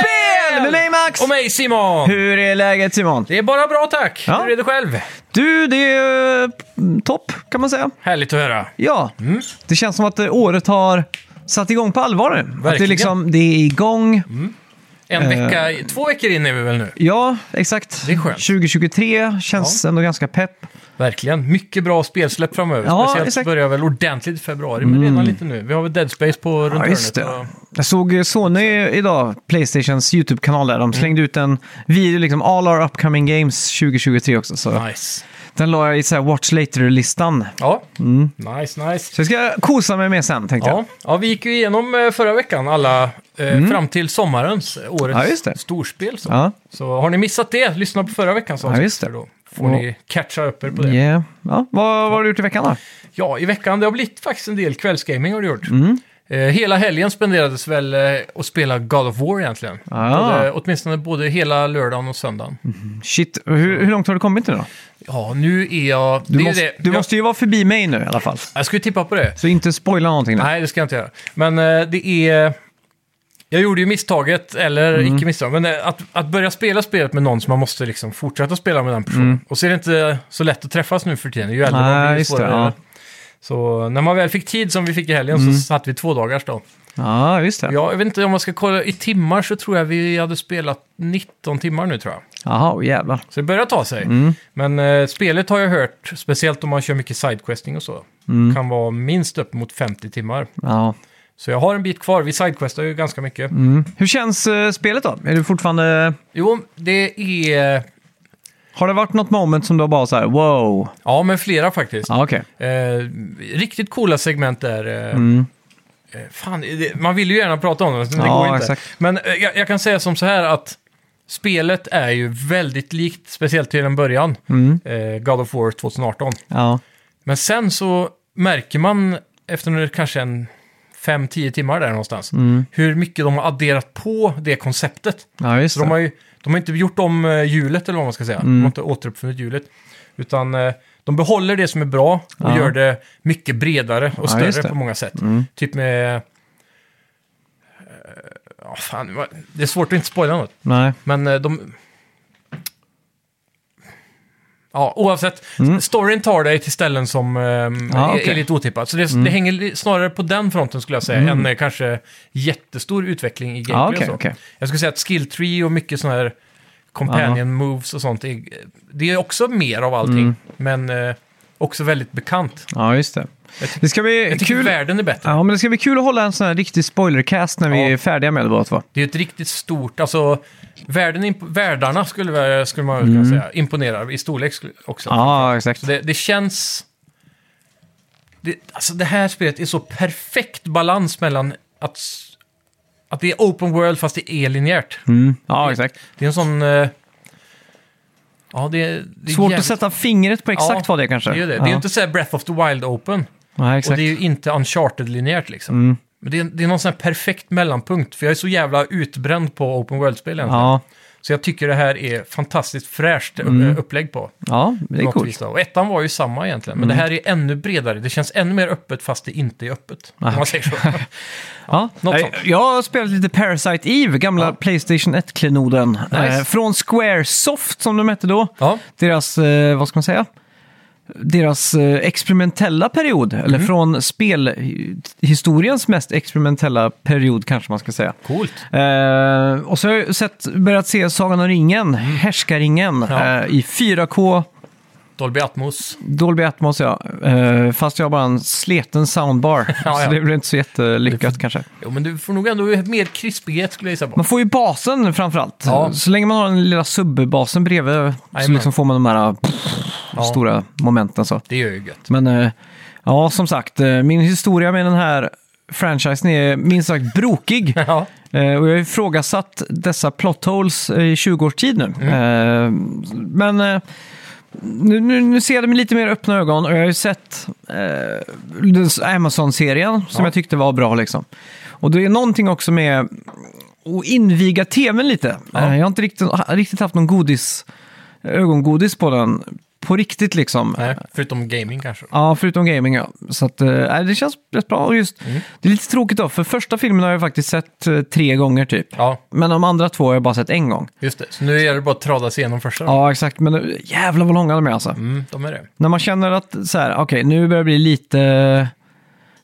Eh, Max! Och mig Simon! Hur är läget Simon? Det är bara bra tack! Ja. Hur är det själv? Du, det är eh, topp kan man säga. Härligt att höra. Mm. Ja, det känns som att eh, året har satt igång på allvar nu. Att det, Verkligen. liksom, det är igång. Eh. En vecka, två veckor in är vi väl nu? Ja, exakt. Det är skönt. 2023 känns ändå ganska pepp. Verkligen. Mycket bra spelsläpp framöver. Ja, Speciellt exakt. Mm. börjar väl ordentligt i februari, men redan lite nu. Vi har väl Dead Space på runt Ja, just hörnet. det. Jag såg eh, Sony idag, Playstations YouTube-kanal där. Mm. De slängde ut en video, liksom All Our Upcoming Games 2023 också. Så och- Nice. Den la jag i så här Watch Later-listan. Ja, nice, nice. Mm. Så jag ska kosa mig med sen, tänkte Ja. ja, vi gick ju igenom eh, förra veckan alla eh, fram till sommarens, eh, årets Mm. Ja, just det. storspel. Så. jag. Ja. så har ni missat det, lyssna på förra veckans avsnitt. just det. för Då får ni catcha upp er på det. Yeah. Ja. Vad, vad har du gjort i veckan då? Ja, i veckan. Det har blivit faktiskt en del kvällsgaming har det gjort. Mm. Eh, hela helgen spenderades väl eh, att spela God of War egentligen. Ah. Både, åtminstone både hela lördagen och söndagen. Shit, hur, hur långt har du kommit nu då? Ja, nu är jag... Du, det är måste, det. du jag, måste ju vara förbi mig nu i alla fall. jag skulle tippa på det. Så inte spoila någonting nu. Nej, det ska jag inte göra. Men eh, det är... Jag gjorde ju misstaget, eller Mm. icke misstag, men eh, att, att börja spela spelet med någon som man måste liksom fortsätta spela med den personen. Och så är det inte så lätt att träffas nu för tiden, ju äldre Mm. Nej, man blir, ju just det, svårare. ja. Mm. är det. Så när man väl fick tid som vi fick i helgen så satt vi två dagars då. Ja, just det. Ja, jag vet inte om man ska kolla i timmar så tror jag vi hade spelat 19 timmar nu tror jag. Jaha, oh, jävlar. Så det börjar ta sig. Mm. Men eh, spelet har jag hört, speciellt om man kör mycket sidequesting och så, Mm. kan vara minst upp mot 50 timmar. Ja. Så jag har en bit kvar, vi sidequestar ju ganska mycket. Mm. Hur känns eh, spelet då? Är du fortfarande... Jo, det är... Har det varit något moment som du har bara så här, wow? Ja, men flera faktiskt. Ja, Mm. okej. Eh, riktigt coola segment där. Eh, eh, fan, det, man vill ju gärna prata om det, men det Ja, går inte. exakt. Men eh, jag, jag kan säga som så här att spelet är ju väldigt likt, speciellt till en början, eh, God of War 2018. Mm. Ja. Men sen så märker man efter nu kanske en 5-10 timmar där någonstans, Mm. hur mycket de har adderat på det konceptet. ja, just Så de det. har ju de har inte gjort om eh, hjulet eller vad man ska säga. Mm. De har inte återuppfunnit hjulet. Utan eh, de behåller det som är bra och Ja. gör det mycket bredare och Ja, just större det. på många sätt. Mm. Typ med... eh, ja, fan, vad- det är svårt att inte spoila något. Nej. Men eh, de... Ja, oavsett. Storyn tar dig till ställen som eh, är- Mm. okej. Mm. är lite otippat. Så det, det hänger li- snarare på den fronten skulle jag säga, än eh, kanske jättestor utveckling i gameplay Ja, okej, och så. okej. Jag skulle säga att skill tree och mycket sådana här companion moves och sånt, är, det är också mer av allting. Mm. Men eh, också väldigt bekant. Ja, just det. Jag tycker- Det ska bli Jag tycker kul. världen är bättre. Ja, men det ska bli kul att hålla en sån här riktig spoilercast när vi Ja. är färdiga med det båda två. Det är ett riktigt stort, alltså världen, imp- världarna skulle, vi- skulle man Mm. kunna säga, imponerar i storlek skulle- också. Ja, exakt. Så det, det känns... Det, alltså det här spelet är så perfekt balans mellan att, s- att det är open world fast det är linjärt. Mm. Ja, exakt. Det är en sån... eh, ja, det, det är Svårt jävligt- att sätta fingret på exakt Ja, vad det är kanske. Det är ju det. Ja. Det är ju inte så här Breath of the Wild open. Nej, Och exakt. Mm. det är ju inte Uncharted-linjärt liksom. Men det är, det är någon sån här perfekt mellanpunkt. För jag är så jävla utbränd på open world-spel egentligen. Ja, Så jag tycker det här är fantastiskt fräscht eh, Mm. upplägg på. ja det är På något coolt. Mm. vis då. Och ettan var ju samma egentligen, men det här är ännu bredare. Det känns ännu mer öppet fast det inte är öppet. Om man säger så. Ja. något Nej, sånt. Jag har spelat lite Parasite Eve, gamla Playstation 1-klenoden. Nice. Eh, från Squaresoft som de hette då. ja, Deras, eh, vad ska man säga? Deras eh, experimentella period, eller Mhm. från spelhistoriens mest experimentella period kanske man ska säga. coolt. Eh, och så har jag sett, börjat se Sagan om ringen, Härskaringen, Mm. Ja. eh, i 4K, Dolby Atmos. Dolby Atmos ja. Eh, fast jag har bara en sleten soundbar, Ja, ja. så det blir inte så jättelyckat kanske. Jo, men du får nog ändå mer krispighet skulle jag gissa på. Man får ju basen framförallt. Ja. Så länge man har den lilla subbasen bredvid så Jajamän. liksom får man de här pff, Ja. stora momenten. Så. Det gör ju gött. Men eh, ja, som sagt, eh, min historia med den här franchisen är minst sagt brokig. Ja, Eh, och jag har ifrågasatt dessa plot holes eh, i 20 års tid Mm. nu. Eh, men eh, nu, nu, nu ser jag det med lite mer öppna ögon och jag har ju sett eh, den s- Amazon-serien som Ja. jag tyckte var bra. Liksom. Och det är någonting också med att inviga tvn lite. Eh, jag har inte riktigt, ha- riktigt haft någon godis, ögongodis på den på riktigt liksom. Nej, förutom gaming kanske. Ja, förutom gaming ja. Så att, eh, nej, det känns rätt bra. Och Just, Mm. Det är lite tråkigt då, för första filmen har jag faktiskt sett eh, tre gånger typ. Ja, Men de andra två har jag bara sett en gång. just det. Så nu är det bara att trada sig igenom första. då. Ja, exakt. Men eh, jävlar vad långa de är alltså. Mm, de är det. När man känner att så här, okej, nu börjar det bli lite...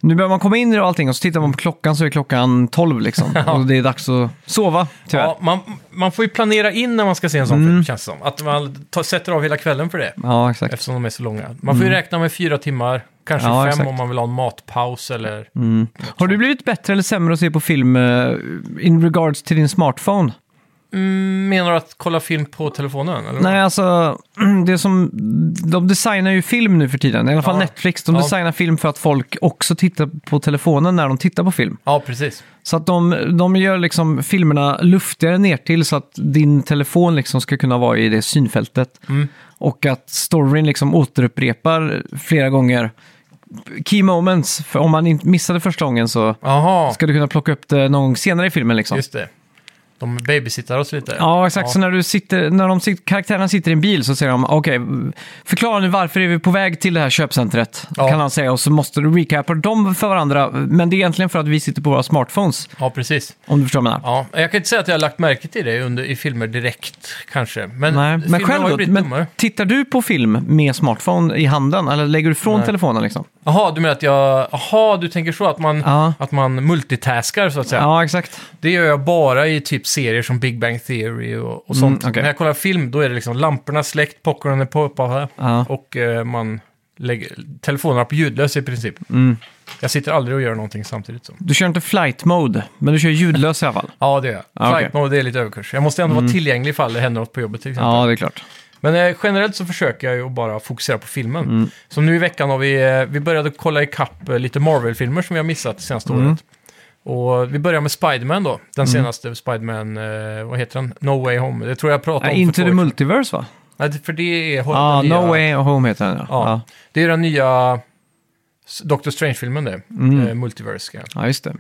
Nu börjar man komma in i det och allting och så tittar man på klockan så är klockan 12 liksom. Och det är dags att sova, tyvärr. Ja, Mm. Ja, man, man får ju planera in när man ska se en sån film, känns det som. Att man tar, sätter av hela kvällen för det, exakt. eftersom de är så långa. Man får ju räkna med fyra timmar, kanske Mm. Ja, fem exakt. om man vill ha en matpaus eller... Har du blivit bättre eller sämre att se på film eh, in regards till din smartphone? Mm, menar du att kolla film på telefonen? Eller? Nej, alltså, det är som, de designar ju film nu för tiden. I alla fall Ja. Netflix. De Ja. designar film för att folk också tittar på telefonen när de tittar på film. Ja, precis. Så att de, de gör liksom filmerna luftigare ner till så att din telefon liksom ska kunna vara i det synfältet. Mm. Och att storyn liksom återupprepar flera gånger key moments. För om man inte missade första gången så Jaha, ska du kunna plocka upp det någon gång senare i filmen. Liksom. just det. De babysittar oss lite. Ja, exakt. Så när, du sitter, när de sit, karaktärerna sitter i en bil så säger de okej, förklara nu varför är vi på väg till det här köpcentret? Ja. Kan han säga. Och så måste du recapa dem för varandra. Men det är egentligen för att vi sitter på våra smartphones, ja, precis. om du förstår vad jag menar. Ja, jag kan inte säga att jag har lagt märke till det under, i filmer direkt, kanske. Men, Nej, men filmer har ju själv då, blivit dummare. men tittar du på film med smartphone i handen eller lägger du ifrån telefonen liksom? Jaha, du menar att jag... Jaha, du tänker så att man, Ja. att man multitaskar, så att säga. Ja, exakt. Det gör jag bara i typ serier som Big Bang Theory och, och sånt. Mm, okej. När jag kollar film, då är det liksom lamporna släckt, popcornen är på här. Ja. Och eh, man lägger telefonerna på ljudlös i princip. Mm. Jag sitter aldrig och gör någonting samtidigt. Så. Du kör inte flight mode, men du kör ljudlös i alla fall. Ja, det gör jag. Ja, Ah, okej. Mm. Flight mode det är lite överkurs. Jag måste ändå vara tillgänglig ifall det händer något på jobbet till exempel. Ja, Mm. det är klart. Men eh, generellt så försöker jag ju att bara fokusera på filmen. Som nu i veckan har vi, eh, vi började kolla ikapp eh, lite Marvel-filmer som vi har missat det senaste Mm. året. Och vi börjar med Spiderman då, den senaste Spiderman, eh, vad heter den? No Way Home. Det tror jag Ja, pratade om för Into två the år sedan. multiverse va? Nej, det- för det är Ja, den nya- No Way Home heter den ja. Ja. Ja, Det är den nya s- Doctor Strange-filmen det, Mm. eh, Multiverse. Ja. ja just det.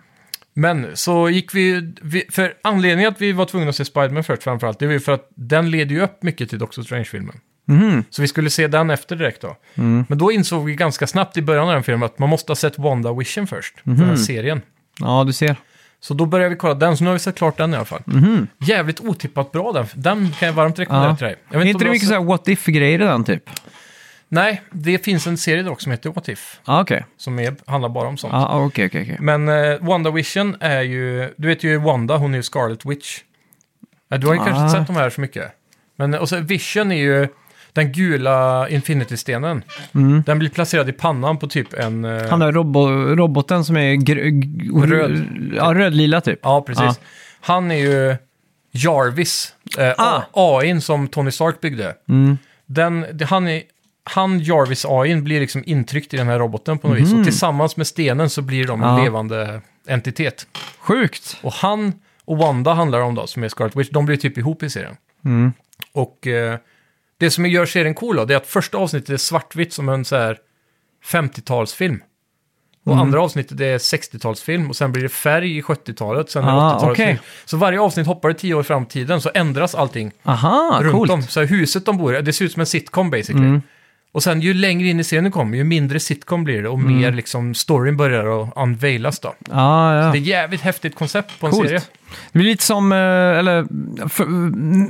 Men så gick vi, vi, för anledningen att vi var tvungna att se Spiderman först framförallt, det var ju för att den leder ju upp mycket till Doctor Strange-filmen. Mhm. Så vi skulle se den efter direkt då. Mm. Men då insåg vi ganska snabbt i början av den filmen att man måste ha sett Wanda Vision först, den Mhm. här serien. Ja, du ser. Så då började vi kolla den, så nu har vi sett klart den i alla fall. Jävligt otippat bra den, den kan jag varmt rekommendera Mhm. Ja. till dig. Jag Är vet inte om du det har mycket sett- såhär what if-grejer i den typ? Nej, det finns en serie dock som heter What If, Ja, okej. som är, handlar bara om sånt. Ja, okej, okej, okej. Men eh, Wanda Vision är ju, du vet ju Wanda, hon är ju Scarlet Witch. Ja, du har ju kanske inte Ah. sett de här så mycket. Men eh, och så Vision är ju den gula Infinity-stenen. Den blir placerad i pannan på typ en... eh, Mm. Han är robo- roboten som är gr- g- Röd. Ja, rödlila typ. Ja, precis. Ja. Han är ju Jarvis, eh, Ah. Mm. AIn som Tony Stark byggde. Den, det, han, är, han, Jarvis AIn, blir liksom intryckt i den här roboten på något Mm. vis. Och tillsammans med stenen så blir de en Ja. levande entitet. Sjukt. Och han och Wanda handlar om då, som är Scarlet Witch, de blir typ ihop i serien. Mm. Och eh, det som gör serien cool då, det är att första avsnittet är svartvitt som en så här 50-talsfilm. Och Mm. andra avsnittet det är 60-talsfilm och sen blir det färg i 70-talet, sen är det Ah, 80-talet. okej. Så varje avsnitt hoppar det 10 år fram i tiden så ändras allting Aha, runt Ah, coolt. Mm. om. Så här, huset de bor i, det ser ut som en sitcom basically. Och sen ju längre in i serien du kommer, ju mindre sitcom blir det och Mm. mer liksom storyn börjar att unveilas då. Ja, ja. Det är jävligt häftigt koncept på en serie. Ah. Coolt. Det blir lite som, eh, eller, för,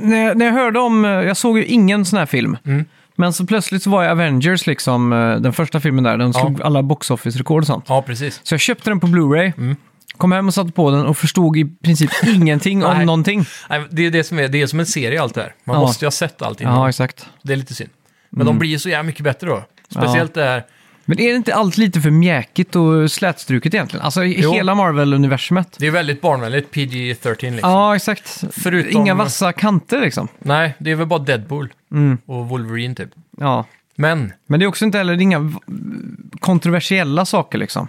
när, jag- när jag hörde om, eh, jag såg ju ingen sån här film. Mm. Men så plötsligt så var jag Avengers, liksom, eh, den första filmen där, den slog alla box office-rekord och sånt. Ja, precis. Så jag köpte den på Blu-ray, Mm. kom hem och satte på den och förstod i princip ingenting om Nej. någonting. Nej, det, är det, som är, det är som en serie allt det här. Man Ja. måste ju ha sett allt innan. Ja, Mm. exakt. Det är lite synd. Men de blir ju så jävla mycket bättre då. Speciellt det här. Men är det inte allt lite för mjäkigt och slätstruket egentligen? Alltså i Jo. hela Marvel-universumet. Det är väldigt barnvänligt, PG-13 liksom. Ja, exakt. Förutom- Inga vassa kanter liksom. Mm, Nej, det är väl bara Deadpool och Wolverine typ. Ja. Men, Men det är också inte heller det är inga v- kontroversiella saker liksom.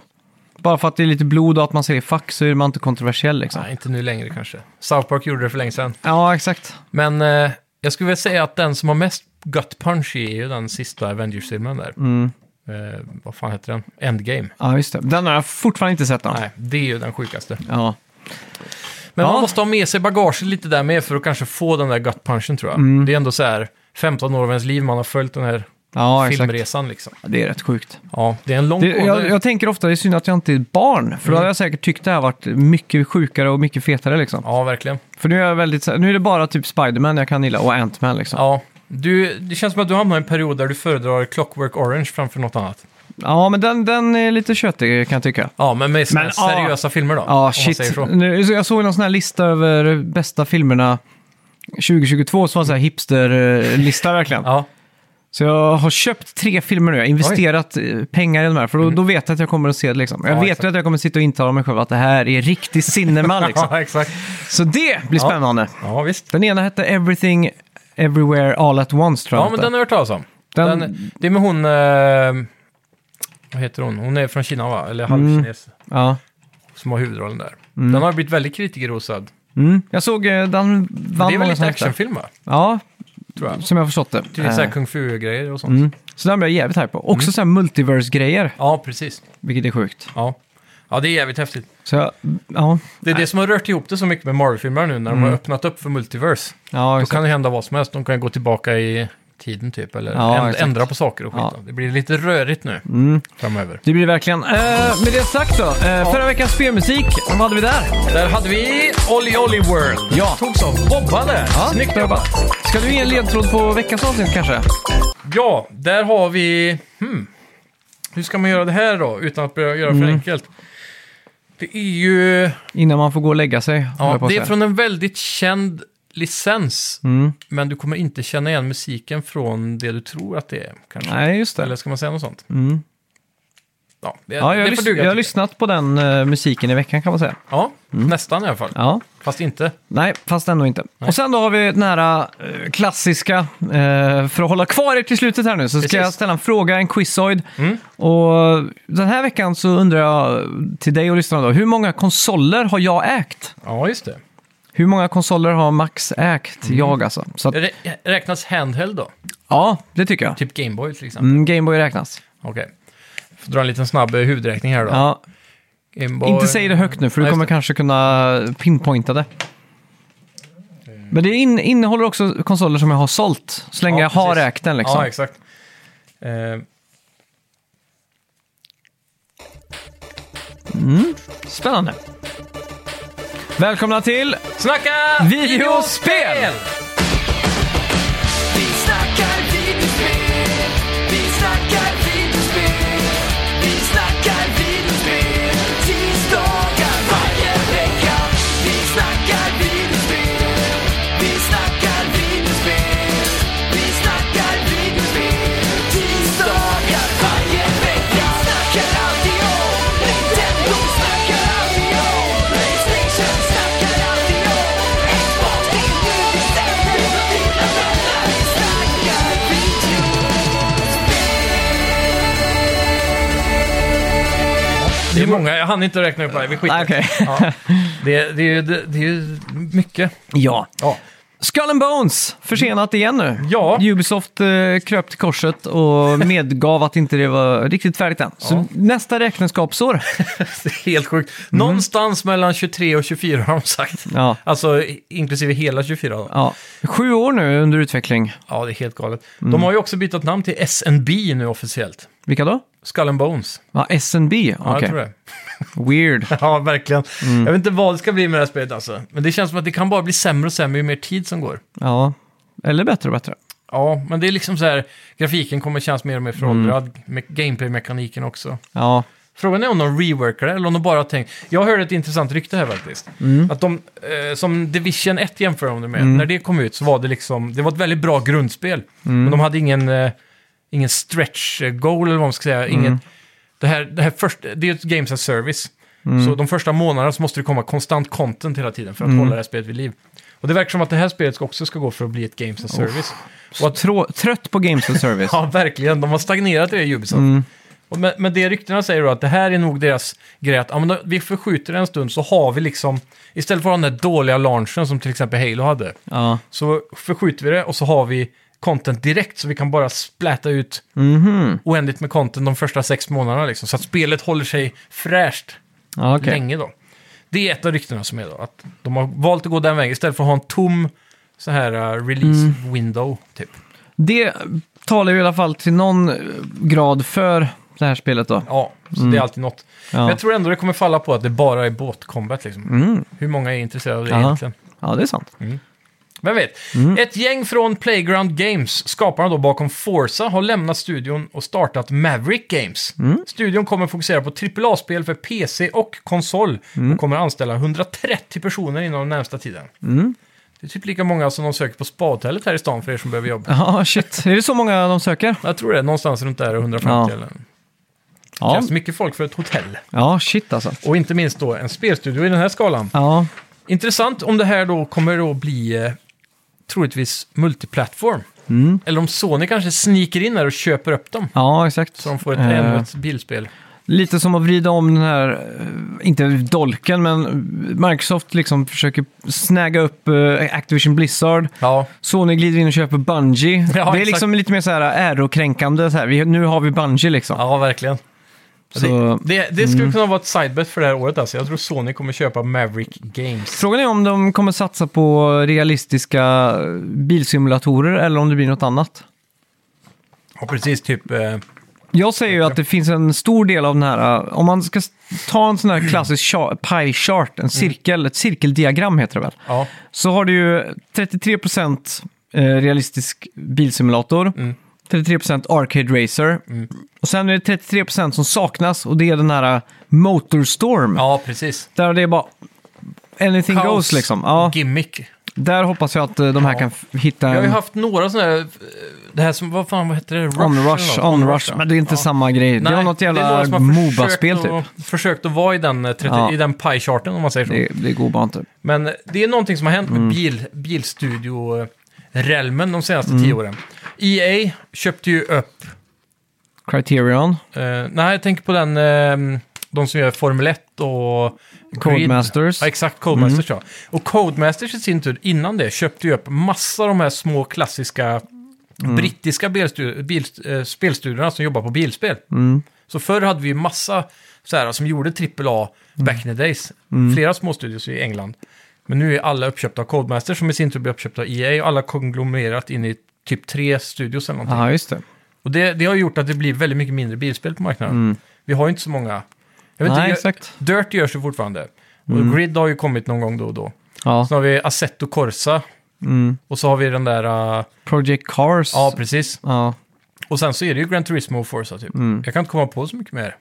Bara för att det är lite blod och att man säger fuck så är man inte kontroversiell liksom. nej, inte nu längre kanske. South Park gjorde det för länge sedan. Ja, exakt. Men eh, jag skulle vilja säga att den som har mest gut punch i är ju den sista Avengers-filmen där. Mm. Eh, vad fan heter den? Endgame. Ja, just det. Den har jag fortfarande inte sett. Då. Nej, det är ju den sjukaste. Ja. Men Ja. man måste ha med sig bagaget lite Mm. där med för att kanske få den där gut punchen tror jag. Det är ändå så här 15 år av ens liv man har följt den här Ja, exakt. filmresan liksom. Det är rätt sjukt. Ja, det är en lång Det, kod. jag, jag tänker ofta, det är synd att jag inte är ett barn, för då hade jag säkert tyckt det här varit mycket sjukare och mycket fetare liksom. Ja, verkligen. För nu är, jag väldigt, så här- nu är det bara typ Spiderman jag kan gilla och Ant-Man liksom. Ja. Ja, du, det känns som att du hamnar i en period där du föredrar Clockwork Orange framför något annat. men den, den är lite köttig kan jag tycka. Ja, men med såna Men, ja. seriösa filmer då. Ja, om man säger shit. så. Nu, så jag såg någon sån här lista över bästa filmerna 2022, som var en sån här hipster-lista verkligen. Ja, Så jag har köpt tre filmer nu, jag har investerat eh, pengar i de här, för då, då vet jag att jag kommer att se det liksom. Jag Mm. Ja, vet exakt. ju att jag kommer att sitta och intala mig själv att det här är riktig cinema liksom. ja exakt. Så det blir Ja. spännande. Ja, visst. Den ena hette Everything Everywhere All At Once tror jag Ja, men hette. den har jag hört talas om. Den- Den... det är med hon... Eh, vad heter hon? Hon är från Kina, va? Eller Mm. halvkines. ja. Som har huvudrollen där. Den har blivit väldigt kritikerrosad. Mm. Jag såg eh, den Men vann Det är väl många lite såna här. actionfilm, va? Ja, Tror jag. som jag har förstått det. Till så här Eh, kung fu-grejer och sånt. mm. Så den blev jag jävligt här på. Också Mm. så här multiverse-grejer, Ja, precis. vilket är sjukt. Ja. ja, det är jävligt häftigt. Så jag, ja, Det är det som har rört ihop det så mycket med Marvel-filmerna nu när de har öppnat upp för multiverse. ja Då Mm. exakt. kan det hända vad som helst. De kan gå tillbaka i tiden typ, eller Ja, änd- exakt. ändra på saker och skit. Ja. Mm. då. Det blir lite rörigt nu framöver. Det blir det verkligen. Eh, med det sagt då, eh, förra veckans spelmusik, vad hade vi där? Där hade vi Olly Olly World. Ja. Togs av Bobba där. Snyggt jobbat. Ska du ge en ledtråd på veckans avsnitt kanske? Ja, där har vi... Hmm. Hur ska man göra det här då, utan att börja göra för Mm. enkelt? Det är ju... Innan man får gå och lägga sig. höll jag på Ja, att det är säga. från en väldigt känd licens. Mm. Men du kommer inte känna igen musiken från det du tror att det är. Kanske. Nej, just det. Eller ska man säga något sånt? Mm. Ja, det, Ja, jag, det har får lys- duga. jag Mm. har tycker lyssnat på den eh, musiken i veckan kan man säga. jag. Ja, nästan i alla fall. Ja. Fast inte. Nej, fast ändå inte. Och sen då har vi den här eh, klassiska, eh, för att hålla kvar er till slutet här nu, så ska Precis. Mm. jag ställa en fråga, en quizoid. Och den här veckan så undrar jag till dig och lyssnarna då, hur många konsoler har jag ägt? Ja, just det. Hur många konsoler har Max ägt? Mm. Jag alltså. Så att, Rä- räknas handheld då? ja, det tycker jag. Typ Gameboy till exempel? Mm, Gameboy räknas. Okej. Får dra en liten snabb eh, huvudräkning här då. Ja, Gameboy. inte säg det högt nu, för du Ja, just kommer det. Eh. kanske kunna pinpointa det. Men det in, innehåller också konsoler som jag har sålt, så länge Ja, jag har precis. ägt den liksom. Ja, exakt. Eh, Spännande. Välkomna till... snacka Videospel! Vi snackar videospel, vi snackar videospel, vi snackar videospel, tisdagar varje vecka. Vi snackar videospel, vi snackar videospel, vi snackar videospel, tisdagar varje vecka. Snackar alltid om Nintendo, snackar alltid om Playstation, snackar alltid om Xbox, det är nu vi sätter dina vänner. Vi snackar video. Det är många, jag hann inte räkna upp alla. Vi skiter Nej, okej. ja. det, det, är ju- det, det är ju mycket. Ja. Ja. Skull and Bones, försenat igen nu. Ja. Ubisoft eh, kröp till korset och medgav att inte det var riktigt färdigt än. Så Ja. nästa räkenskapsår. Det är helt sjukt. Någonstans mellan 23 och 24 har de sagt. Mm. Ja. Alltså i- inklusive hela 24 då. Ja. Sju år nu under utveckling. Ja, det är helt galet. Mm. De har ju också bytt namn till SNB nu officiellt. Vilka då? Skull and Bones. Ja, SNB. Ja, jag Okej. Mm. tror det. Weird. Ja, verkligen. Jag vet inte vad det ska bli med det här spelet alltså. Men det känns som att det kan bara bli sämre och sämre ju mer tid som går. Ja. Eller bättre och bättre. Ja, men det är liksom så här, grafiken kommer kännas mer och mer föråldrad, Mm. med gameplay-mekaniken också. Ja. Frågan är om de reworkar det eller om de bara tänker... Jag hörde ett intressant rykte här faktiskt. Att de, eh, som Division 1 jämför de det med, när det kom ut så var det liksom... Det var ett väldigt bra grundspel. Men de hade ingen, eh, ingen stretch eh, goal eller vad man ska säga. Ingen, det, här, det, här först, det är ett games as service. Så de första månaderna så måste det komma konstant content hela tiden för att hålla det här spelet vid liv. Och det verkar som att det här spelet ska- också ska gå för att bli ett games as service. Och att Trå- trött på Games and Service. Ja, verkligen. De har stagnerat i det, Ubisoft. Och Men, men det ryktena säger då att det här är nog deras grej att ja, men då, vi förskjuter det en stund så har vi liksom, istället för att ha den där dåliga launchen som till exempel Halo hade, Ja. så förskjuter vi det och så har vi content direkt så vi kan bara spläta ut Mhm. oändligt med content de första sex månaderna liksom, så att spelet håller sig fräscht Ja, okej. länge då. Det är ett av ryktena som är då, att de har valt att gå eh, den vägen istället för att ha en tom så här uh, release window typ. Det talar ju i alla fall till någon eh, grad för det här spelet då. Ja, så det är alltid något. Men Mm. Ja, jag tror ändå det kommer falla på att det bara är båtcombat liksom. mm. Hur många är intresserade av det Aha. Mm. egentligen? ja det är sant. Vem vet? Ett gäng från Playground Games, skaparna då bakom Forza, har lämnat studion och startat Maverick Games. Mm. Studion kommer fokusera på AAA-spel för PC och konsol Mm. och kommer anställa 130 personer inom den närmsta tiden. Mm. Det är typ lika många som de söker på spadhotellet här i stan för er som behöver jobb. Ja, shit. Är det så många de söker? Jag tror det är någonstans runt där 150 Ja. eller... Det Ja, krävs mycket folk för ett hotell. ja shit alltså. Och inte minst då en spelstudio i den här skalan. Ja, Intressant om det här då kommer att bli eh, troligtvis multiplattform. Eller om Sony kanske sniker in här och köper upp dem. Mm. ja exakt. Så de får ett, Eh, ännu ett bilspel. Lite som att vrida om den här, eh, inte dolken, men Microsoft liksom försöker snäga upp eh, Activision Blizzard. Ja, Sony glider in och köper Bungie. det är exakt. liksom lite mer så här ärokränkande. Så här. Vi, nu har vi Bungie liksom. ja verkligen. Så- det, det, det skulle kunna vara ett sidebet för det här året alltså. Jag tror Sony kommer köpa Maverick Games. Frågan är om de kommer satsa på realistiska eh, bilsimulatorer eller om det blir något annat. Ja, precis. Typ... Eh, Jag säger ju att det finns en stor del av den här, eh, om man ska s- ta en sån här klassisk cha- pie chart, en cirkel, ett cirkeldiagram heter det väl, ja, så har du ju 33% eh, realistisk bilsimulator, Mm. 33% arcade racer, och sen är det 33% som saknas och det är den här eh, Motorstorm. ja, precis. Där det är bara anything Kaos, goes liksom. Ja, Gimmick. där hoppas jag att eh, de här Ja. kan f- hitta Jag har ju en haft några sådana här... eh, Det här som... Vad fan, vad hette det? Rush? eller något? onrush, onrush. ja. Men det är inte samma grej. det var något det är några jävla som har försökt Moba-spel typ. att- Försökt att vara i den, eh, 30, Ja. i den pie-charten om man säger så. Det, Mm. det går bara inte. Men det är någonting som har hänt med bil, bilstudio-relmen de senaste Mm. tio åren. EA köpte ju upp, Criterion, eh, nej jag tänker på den, eh, de som gör Formel 1 och Grid. Codemasters. Ja, exakt, Codemasters ja. Och Codemasters i sin tur innan det köpte ju upp massa av de här små klassiska brittiska bilstu- bil, eh, spelstudiorna som jobbar på bilspel. Så förr hade vi ju massa så här, som gjorde AAA back in the days. Flera småstudios i England. Men nu är alla uppköpta av Codemasters som i sin tur blir uppköpta av EA och alla konglomererat in i typ tre studios eller någonting. Ja, just det. Och det, det har gjort att det blir väldigt mycket mindre bilspel på marknaden. Vi har ju inte så många. Jag vet Nej, inte, jag, exakt. Dirt görs ju fortfarande. Mm. Och Grid har ju kommit någon gång då och då. Ja. Sen har vi Assetto Corsa. Mm. Och så har vi den där... Uh, Project Cars. ja, precis. Ja. Och sen så är det ju Gran Turismo och Forza typ. Mm. Jag kan inte komma på så mycket mer.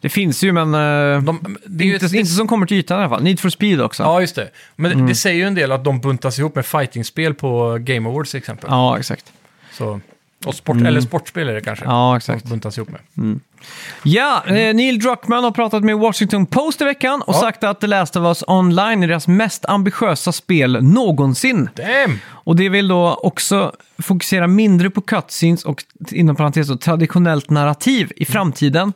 Det finns ju, men... eh, De, det är ju inte, ett- inte som kommer till ytan i alla fall. Need for speed också. Ja, just det. Men Mm. det säger ju en del att de buntas ihop med fightingspel på Game Awards till exempel. Ja, exakt. Så, och sport, Eller sportspel är det kanske. Ja, exakt. Mm. De buntas ihop med. Ja, eh, Neil Druckmann har pratat med Washington Post i veckan och Ja. sagt att The Last of Us Online är deras mest ambitiösa spel någonsin. Damn! Och det vill då också fokusera mindre på cutscenes och t- inom parentes då, traditionellt narrativ Mm. i framtiden.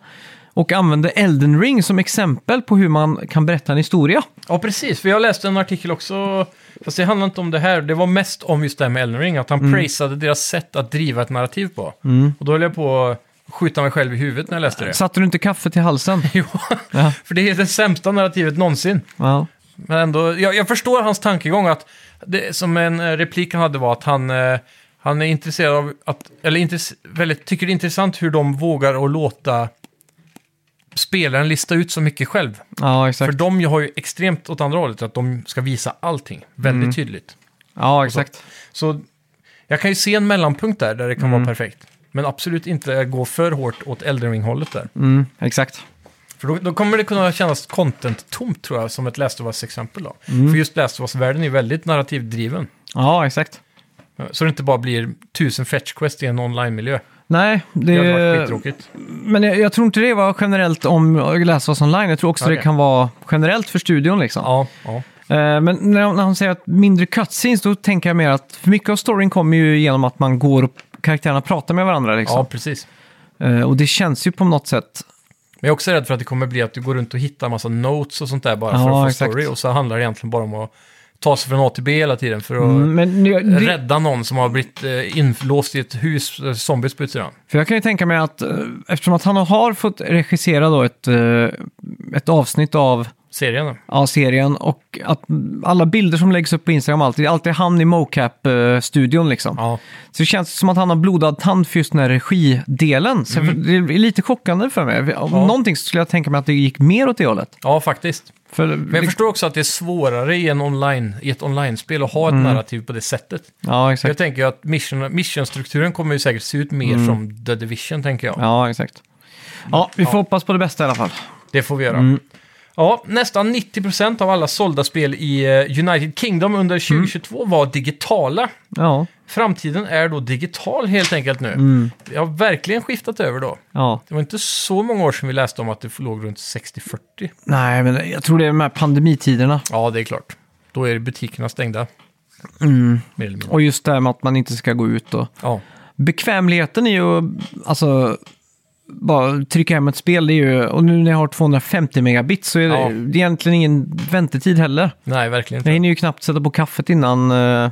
Och använder Elden Ring som exempel på hur man kan berätta en historia. Ja, precis. För jag läste en artikel också, fast det handlade inte om det här. Det var mest om just det här med Elden Ring, att han prisade deras sätt att driva ett narrativ på. Och då höll jag på att skjuta mig själv i huvudet när jag läste det. Satte du inte kaffe till halsen? Jo, Ja. för det är det sämsta narrativet någonsin. Ja. Men ändå, jag, jag förstår hans tankegång att, det, som en eh, replik han hade var att han, eh, han är intresserad av att, eller intress, väldigt, tycker det är intressant hur de vågar att låta spelaren lista ut så mycket själv. ja, För exakt. de har ju extremt åt andra hållet, att de ska visa allting väldigt tydligt. Ja, exakt. Så jag kan ju se en mellanpunkt där, där det kan vara perfekt. Men absolut inte gå för hårt åt Elden Ring-hållet där. Mm, exakt. För då, då kommer det kunna kännas content-tomt tror jag, som ett Last of Us-exempel då. För just Last of Us-världen är ju väldigt narrativdriven. Ja, exakt. Så det inte bara blir tusen fetch quest i en online-miljö. Nej, det... Det hade varit skittråkigt. Men jag, jag tror inte det var generellt om läsa oss online. Jag tror också det Okej. kan vara generellt för studion liksom. Ja, ja. Eh, Men när han- när han säger att mindre cutscenes, då tänker jag mer att för mycket av storyn kommer ju genom att man går och karaktärerna pratar med varandra. ja, Liksom. precis. Eh, Och det känns ju på något sätt. Men jag är också rädd för att det kommer bli att du går runt och hittar massa notes och sånt där bara för Ja, att få exakt. story. Och så handlar det egentligen bara om att ta sig från A till B hela tiden för att Mm, Men nu- det, rädda någon som har blivit eh, inlåst i ett hus, eh, zombies på utsidan. för jag kan ju tänka mig att eh, eftersom att han har fått regissera då ett, eh, ett avsnitt av serien. då. ja, serien. Och att alla bilder som läggs upp på Instagram, alltid, alltid han i mocap-studion liksom. Ja. Så det känns som att han har blodad tand för just den här regidelen. Så Det är lite chockande för mig. Om Mm. Ja. någonting så skulle jag tänka mig att det gick mer åt det hållet. ja, faktiskt. För, Men jag förstår också att det är svårare i, en online, i ett online-spel att ha ett Mm. narrativ på det sättet. Ja, Jag exakt. tänker ju att mission, missionstrukturen kommer ju säkert se ut mer som The Division, tänker jag. Mm. Ja, exakt. Ja, vi får hoppas på det bästa i alla fall. Det får vi göra. Mm. Ja, nästan 90% av alla sålda spel i eh, United Kingdom Mm. under 2022 var digitala. Ja, Framtiden är då digital helt enkelt nu. Mm. Det har verkligen skiftat över då. ja. Det var inte så många år sedan vi läste om att det låg runt 60-40. Nej, men jag tror det är de här pandemitiderna. Ja, det är klart. Då är butikerna stängda. Mm. Mer eller mindre. Och just det här med att man inte ska gå ut och... Ja. Bekvämligheten är ju, alltså, bara trycka hem ett spel, det är ju, och nu när jag har 250 megabit så är det, Ja. det är egentligen ingen väntetid heller. Nej, verkligen Jag inte. hinner ju knappt sätta på kaffet innan, eh,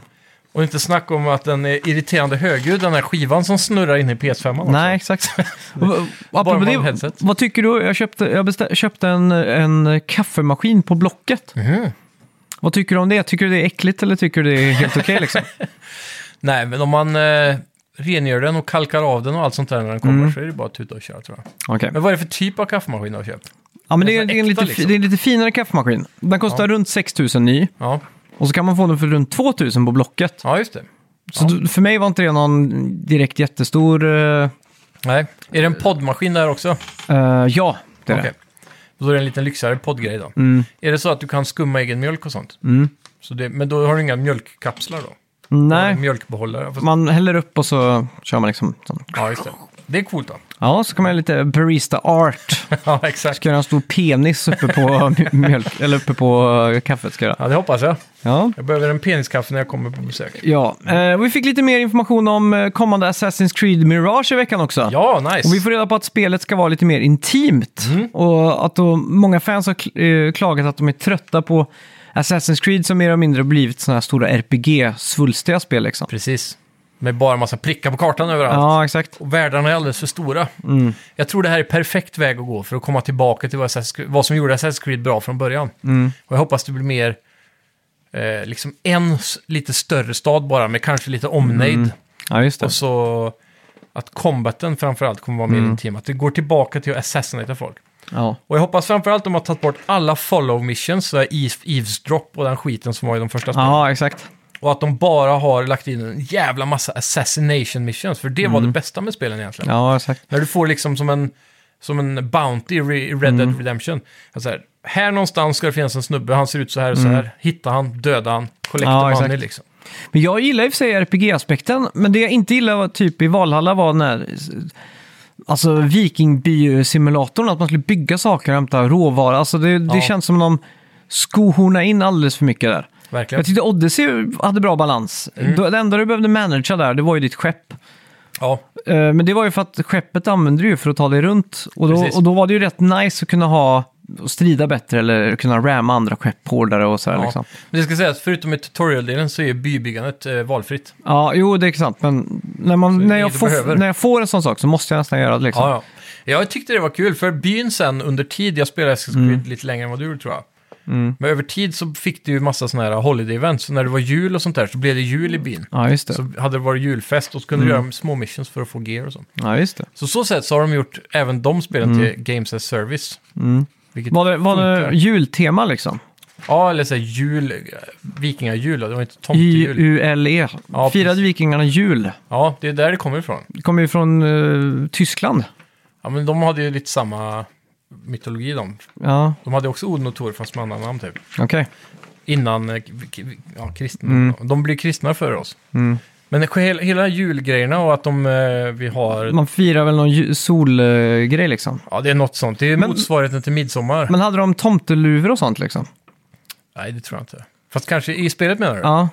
Och inte snack om att den är irriterande högljudd, den här skivan som snurrar inne i PS5. också. nej exakt. Och- och apropå man det, har headset. vad tycker du, jag köpte, jag bestä- köpte en, en kaffemaskin på Blocket. Vad tycker du om det? Tycker du det är äckligt eller tycker du det är helt okej liksom? Nej, men om man eh, rengör den och kalkar av den och allt sånt där när den kommer Mm. så är det bara att tuta och köra tror jag. Okej. Men vad är det för typ av kaffemaskin du har köpt? Ja, men det är, Den är det, är en äkta, lite, fi- liksom. det är en lite finare kaffemaskin. Den kostar runt 6 000 ny Ja, och så kan man få den för runt 2 000 på Blocket. ja just det. Så du- för mig var inte det någon direkt jättestor... eh, Nej. Är det en poddmaskin där också? eh, ja, det Mm. är Okej. Då är det en liten lyxigare poddgrej då. Är det så att du kan skumma egen mjölk och sånt? Mm. Så det, men då har du inga mjölkkapslar då? det. Eller Nej, Mjölkbehållare? Fast, man häller upp och så kör man liksom... Sån. ja, just det. Det är coolt då. Ja, så kan man göra lite barista art. ja, exakt. Ska göra en stor penis uppe på mj- mjölk, eller uppe på eh, kaffet ska jag göra. Ja, det hoppas jag. Ja. Jag behöver en peniskaffe när jag kommer på besök. Ja, eh, vi fick lite mer information om eh, kommande Assassin's Creed Mirage i veckan också. Ja, nice. Och vi får reda på att spelet ska vara lite mer intimt. Och att då många fans har kl- eh, klagat att de är trötta på Assassin's Creed som mer eller mindre har blivit sådana här stora RPG-svulstiga spel liksom. Precis. Med bara massa prickar på kartan överallt. Ja, exakt. Och världarna är alldeles för stora. Jag tror det här är perfekt väg att gå för att komma tillbaka till vad, Assassin's Creed, vad som gjorde Assassin's Creed bra från början. Och jag hoppas det blir mer, eh, liksom en s- lite större stad bara, med kanske lite omnejd. Ja, just det. Och så att combaten framförallt kommer vara mer intim. Att det går tillbaka till att assassinata folk. Ja. Och jag hoppas framförallt de har tagit bort alla follow missions, så här eaves- eavesdrop och den skiten som var i de första spelen. ja, exakt. Och att de bara har lagt in en jävla massa assassination missions, för det var det bästa med spelen egentligen. Ja, exakt. När du får liksom som en, som en bounty i Re- i Red Dead Mm. Redemption. Alltså här, här någonstans ska det finnas en snubbe, han ser ut så här och så här. Hitta han, döda han, collecta Mm. Ja, exakt. money liksom. Men jag gillar i och för sig RPG-aspekten, men det jag inte gillade var typ i Valhalla var när... Alltså vikingby-simulatorn, att man skulle bygga saker och hämta råvara. Alltså det, det Ja. känns som de skohornar in alldeles för mycket där. Verkligen. Jag tyckte Odyssey hade bra balans. Mm. Då- Det enda du behövde managera där, det var ju ditt skepp. Ja, Eh, Men det var ju för att skeppet använde du ju för att ta dig runt. Och då, Precis. och då var det ju rätt nice att kunna ha och strida bättre eller kunna ramma andra skepp hårdare och sådär ja. liksom. Men det ska sägas, förutom i tutorial-delen så är bybyggandet eh, valfritt. Ja, jo det är sant. Men när, Så man, när, det jag du får, behöver. när jag får en sån sak så måste jag nästan göra det liksom. Ja, ja. Jag tyckte det var kul, för byn sen under tid, jag spelade Assassin's Mm. Creed lite längre än vad du gjorde tror jag. Men över tid så fick du ju massa sådana här holiday-events, så när det var jul och sånt där så blev det jul i byn. Ja, just det. Så hade det varit julfest och så Mm. kunde du göra små missions för att få gear och sånt. Ja, just det. Så så sätt så har de gjort även de spelen Mm. till Games as Service. Vilket, Var det, var Funkar. det jultema liksom? ja, eller så här jul, vikingajul, det var inte tomtejul. J-U-L-E. Ja, E. Firade precis. vikingarna jul? Ja, det är där det kommer ifrån. Det kommer ju från eh, Tyskland. Ja, men de hade ju lite samma mytologi de. Ja, De hade också Odin och Tor fast med andra namn typ. okej. Innan eh, k- k- ja, kristna. Mm. De blir kristna före oss. Men hela, hela julgrejerna och att de, eh, vi har... Man firar väl någon solgrej liksom. Ja, det är något sånt. Det är Men- motsvarigheten till midsommar. Men hade de tomteluvor och sånt liksom? Nej, det tror jag inte. Fast kanske i spelet menar du? Ja,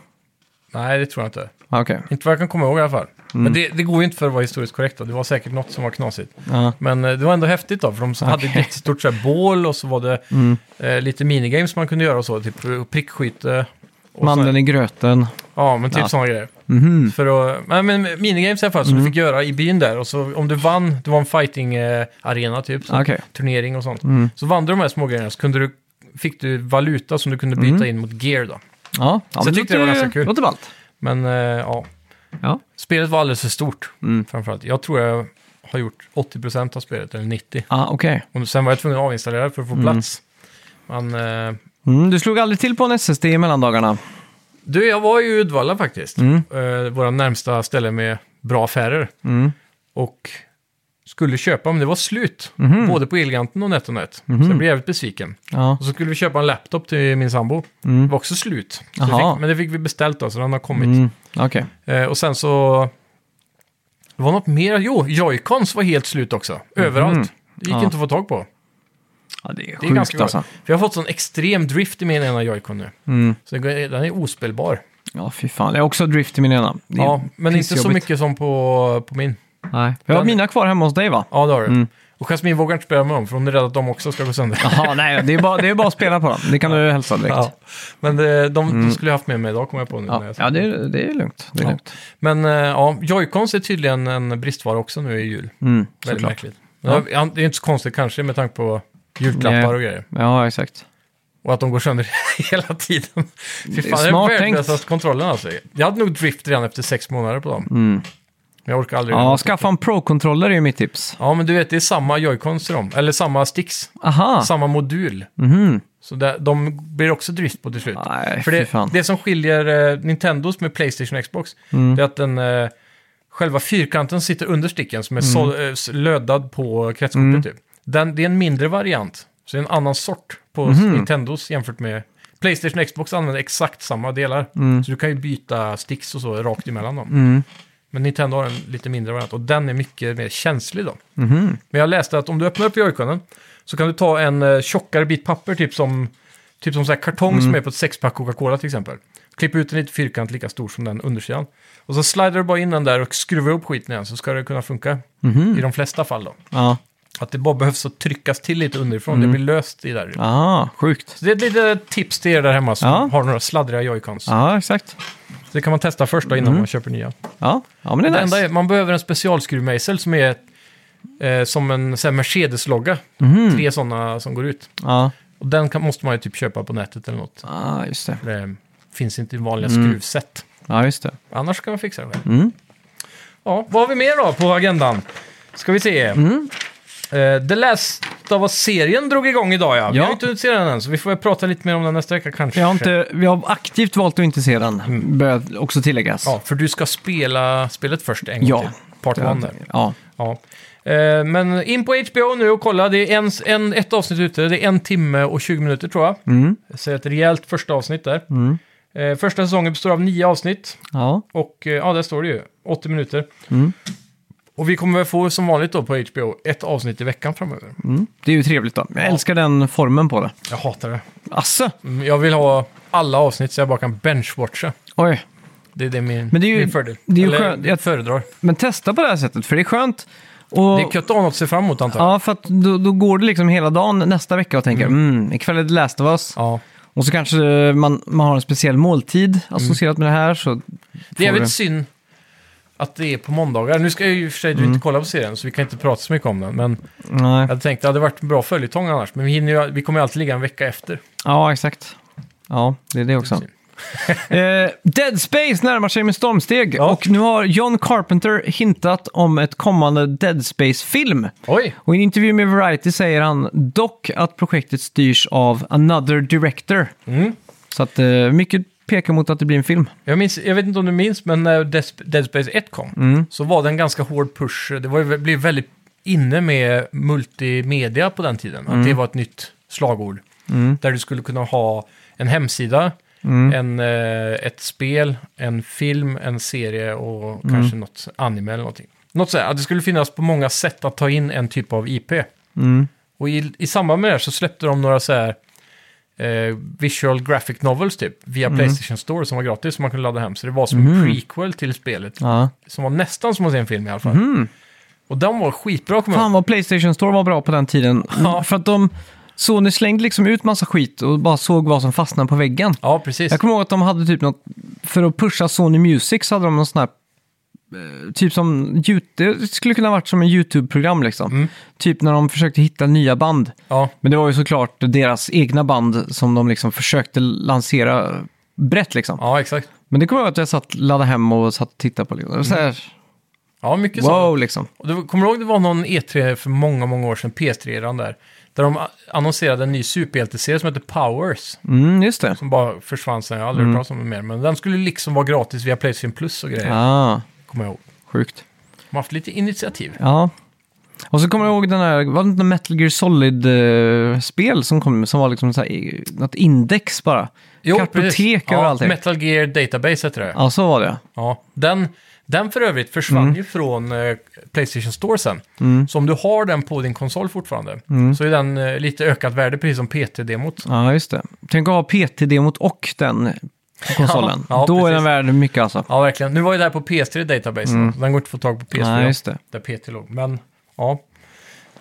Nej, det tror jag inte. ja, okej. Inte vad jag kan komma ihåg i alla fall. Mm. Men det, det går ju inte för att vara historiskt korrekt. Då. Det var säkert något som var knasigt. Ja. Men eh, det var ändå häftigt då, för de hade ett jättestort så här bål och så var det Mm. eh, lite minigames man kunde göra och så. Typ eh, prickskytte. och såna- Mandeln i gröten. Mhm. Ja, men typ Ja. sådana grejer. För att, nej, men minigames i alla fall som Mm. du fick göra i byn där. Och så om du vann, det var en fighting-arena typ, så Okej. Mm. turnering och sånt. Så vann du de här små grejerna så kunde du fick du valuta som du kunde byta Mm. in mot gear då. Ja, ja Så men jag tyckte det var låter- ganska kul. Låter ballt. Men eh, ja, Ja. spelet var alldeles för stort Mm. framförallt. Jag tror jag har gjort 80% av spelet, eller 90%. Ah, okej. Och sen var jag tvungen att avinstallera det för att få plats. Men eh, Mm, du slog aldrig till på en SSD i mellandagarna. du, jag var ju i Uddevalla faktiskt. Mm. Eh, våra närmsta ställe med bra affärer. Mm. Och skulle köpa, men det var slut. Mhm. Både på Elgiganten och NetOnNet. Så jag blev jävligt besviken. Ja. Och så skulle vi köpa en laptop till min sambo. Mm. Det var också slut. Så vi Jaha. fick, men det fick vi beställt då, så den har kommit. Mm. Okej. Eh, och sen så... Det var något mer. Jo, Joy-Cons var helt slut också. Överallt. Det gick Mhm. Ja. inte att få tag på. Ja, det är Det är sjukt ganska bra. alltså. För jag har fått sån extrem drift i min ena Joy-Con nu. Mm. Så den går- den är ospelbar. Ja, fy fan. Jag har också drift i min ena. Det är Ja, men inte så pissjobbigt. mycket som på, på min. Nej. Jag har Den- mina kvar hemma hos dig va? Ja, det har du. Mm. Och Jasmine vågar inte spela med dem, för hon är rädd att de också ska gå sönder. Jaha, nej, det är, bara, det är bara att spela på dem. Det kan du hälsa direkt. Ja. Ja, Men det, de, de skulle jag haft med mig idag, kommer jag på nu. när Mm. ja. jag satt. det, är, det är lugnt. Det är Ja. lugnt. Men eh, ja, Joy-Cons är tydligen en bristvara också nu i jul. Mm, Väldigt såklart. märkligt. Men ja, Det är inte så konstigt kanske med tanke på julklappar Nej. och grejer. Ja, exakt. Och att de går sönder hela tiden. Fy Det är fan, det är smart värdelösaste kontrollen alltså. Jag hade nog drift redan efter sex månader på dem. Men jag orkar aldrig. Mm. Ja, skaffa en Pro-controller är ju mitt tips. ja, men du vet, det är samma Joy-Cons till dem. Eller samma sticks. Aha! Samma modul. Mhm. Så där, de blir också drift på till slut. Nej, För fy fan. det, det som skiljer eh, Nintendos med Playstation och Xbox, Mm. det är att den, eh, själva fyrkanten sitter under sticken som är Mm. sol, eh, s- lödad på kretskortet. Typ. Den, det är en mindre variant, så det är en annan sort på s- Mhm. Nintendos jämfört med Playstation och Xbox använder exakt samma delar. Mm. Så du kan ju byta sticks och så rakt emellan dem. Men Nintendo har en lite mindre variant och den är mycket mer känslig då. Mhm. Men jag läste att om du öppnar upp Joy-Conen så kan du ta en eh, tjockare bit papper, typ som, typ som så här kartong Mm. som är på ett sexpack Coca-Cola till exempel. Klipp ut en liten fyrkant lika stor som den undersidan. Och så slider du bara in den där och skruvar upp skiten igen så ska det kunna funka. I de flesta fall då. Mhm. Ja. Att det bara behövs att tryckas till lite underifrån, Mm. det blir löst i där. Aha, sjukt. Så det är ett litet tips till er där hemma som Ja. har några sladdriga Joy-Cons. Ja, Mm. exakt. Så det kan man testa först då innan man köper nya. Ja, ja men det är Det nice. enda är, man behöver en specialskruvmejsel som är eh, som en så här Mercedes-logga. Mhm. Tre sådana som går ut. Ja. Och den kan, måste man ju typ köpa på nätet eller något. ja, just det. Det finns inte i vanliga Mm. skruvsätt. Ja, just det. Annars kan man fixa det själv. Mm. Ja, vad har vi mer då på agendan? Ska vi se. Mm. Eh, The Last of Us-serien drog igång idag ja. Vi Ja. har ju inte sett den än, så vi får väl prata lite mer om den nästa vecka kanske. Jag har, inte, jag har aktivt valt att inte se den, bör också tilläggas. Ja, för du ska spela spelet först en gång Ja. till. Part 1 där. Ja. Ja. Eh, Men in på HBO nu och kolla. Det är en, en, ett avsnitt ute. Det är en timme och 20 minuter tror jag. Mm. Så ett rejält första avsnitt där. Eh, Första säsongen består av nio avsnitt. Ja. Och eh, ja, där står det ju. 80 minuter. Mm. Och vi kommer väl få som vanligt då på HBO ett avsnitt i veckan framöver. Det är ju trevligt då. Jag älskar den formen på det. Jag hatar det. Asså? Mm, Jag vill ha alla avsnitt så jag bara kan benchwatcha. Oj. Det är det min, Men det är ju- min fördel. det är ju Eller, skönt. jag föredrar. Men testa på det här sättet, för det är skönt. Och, Det är gött att ha något att se fram emot antar jag. Ja, för att då, då går det liksom hela dagen nästa vecka och tänker mm. ikväll är det Last of Us. Ja. Och så kanske man, man har en speciell måltid Mm. associerat med det här. Så Det är Får väl du- synd att det är på måndagar. Nu ska jag ju i och för sig du Mm. inte kolla på serien, så vi kan inte prata så mycket om den. Men nej. jag tänkte att det hade varit en bra följetong annars. Men vi, hinner ju, vi kommer ju alltid ligga en vecka efter. Ja, exakt. Ja, det är det också. eh, Dead Space närmar sig med stormsteg Ja. och nu har John Carpenter hintat om ett kommande Dead Space-film. Oj! Och i en intervju med Variety säger han dock att projektet styrs av another director. Mm. Så att eh, mycket pekar mot att det blir en film. Jag, minns, jag vet inte om du minns, men när Des- Dead Space 1 kom så var det en ganska hård push. Det var, ju- blev väldigt inne med multimedia på den tiden. Att det var ett nytt slagord. Där du skulle kunna ha en hemsida, en, eh, ett spel, en film, en serie och kanske något anime eller någonting. Något sådär, att det skulle finnas på många sätt att ta in en typ av IP. Och i, i samband med det här så släppte de några så här eh, visual graphic novels typ, via Mm. Playstation Store som var gratis som man kunde ladda hem. Så det var som en prequel till spelet, Ja. som var nästan som att se en film i alla fall. Och den var skitbra, kommer jag Mm. Fan vad Playstation Store var bra på den tiden. Ja. För att de... Sony slängde liksom ut massa skit och bara såg vad som fastnade på väggen. Ja, precis. Jag kommer ihåg att de hade typ något, för att pusha Sony Music så hade de någon sån här eh, typ som, Yout- det skulle kunna varit som en YouTube-program liksom. Typ när de försökte hitta nya band. Ja, Men det var ju såklart deras egna band som de liksom försökte lansera brett liksom. ja exakt. Men det kommer jag ihåg att jag satt, laddade hem och satt och tittade på. Liksom. Det var så här, Ja, mycket så. wow liksom. Och det var- Kommer du ihåg det var någon E3 för många, många år sedan, PS3-eran där, där de a- annonserade en ny superhjälteserie som heter Powers, Mm, just det. som bara försvann sen, jag har aldrig Mm. hört talas om den mer, men den skulle liksom vara gratis via Playstation Plus och grejer, Ah, kommer jag ihåg. sjukt. De har haft lite initiativ. Ja. Och så kommer jag ihåg den här, var det inte Metal Gear Solid-spel som kom, som var liksom så här, eh, något index bara? Kartotek precis. över ja, allting. Metal Gear Database heter det. Ja. Ja, så var det. Den, den för övrigt försvann Mm. ju från eh, Playstation Store sen. Så om du har den på din konsol fortfarande Mm. så är den eh, lite ökat värde, precis som PT-demot. Ja, just det. Tänk att ha PT-demot och den på konsolen. Ja, ja, Då är precis. den värd mycket alltså. Ja, verkligen. Nu var ju det här på PS3 Database, så den går inte att få tag på PS4. Mm. Nej, just det. Där PT låg. Men ja,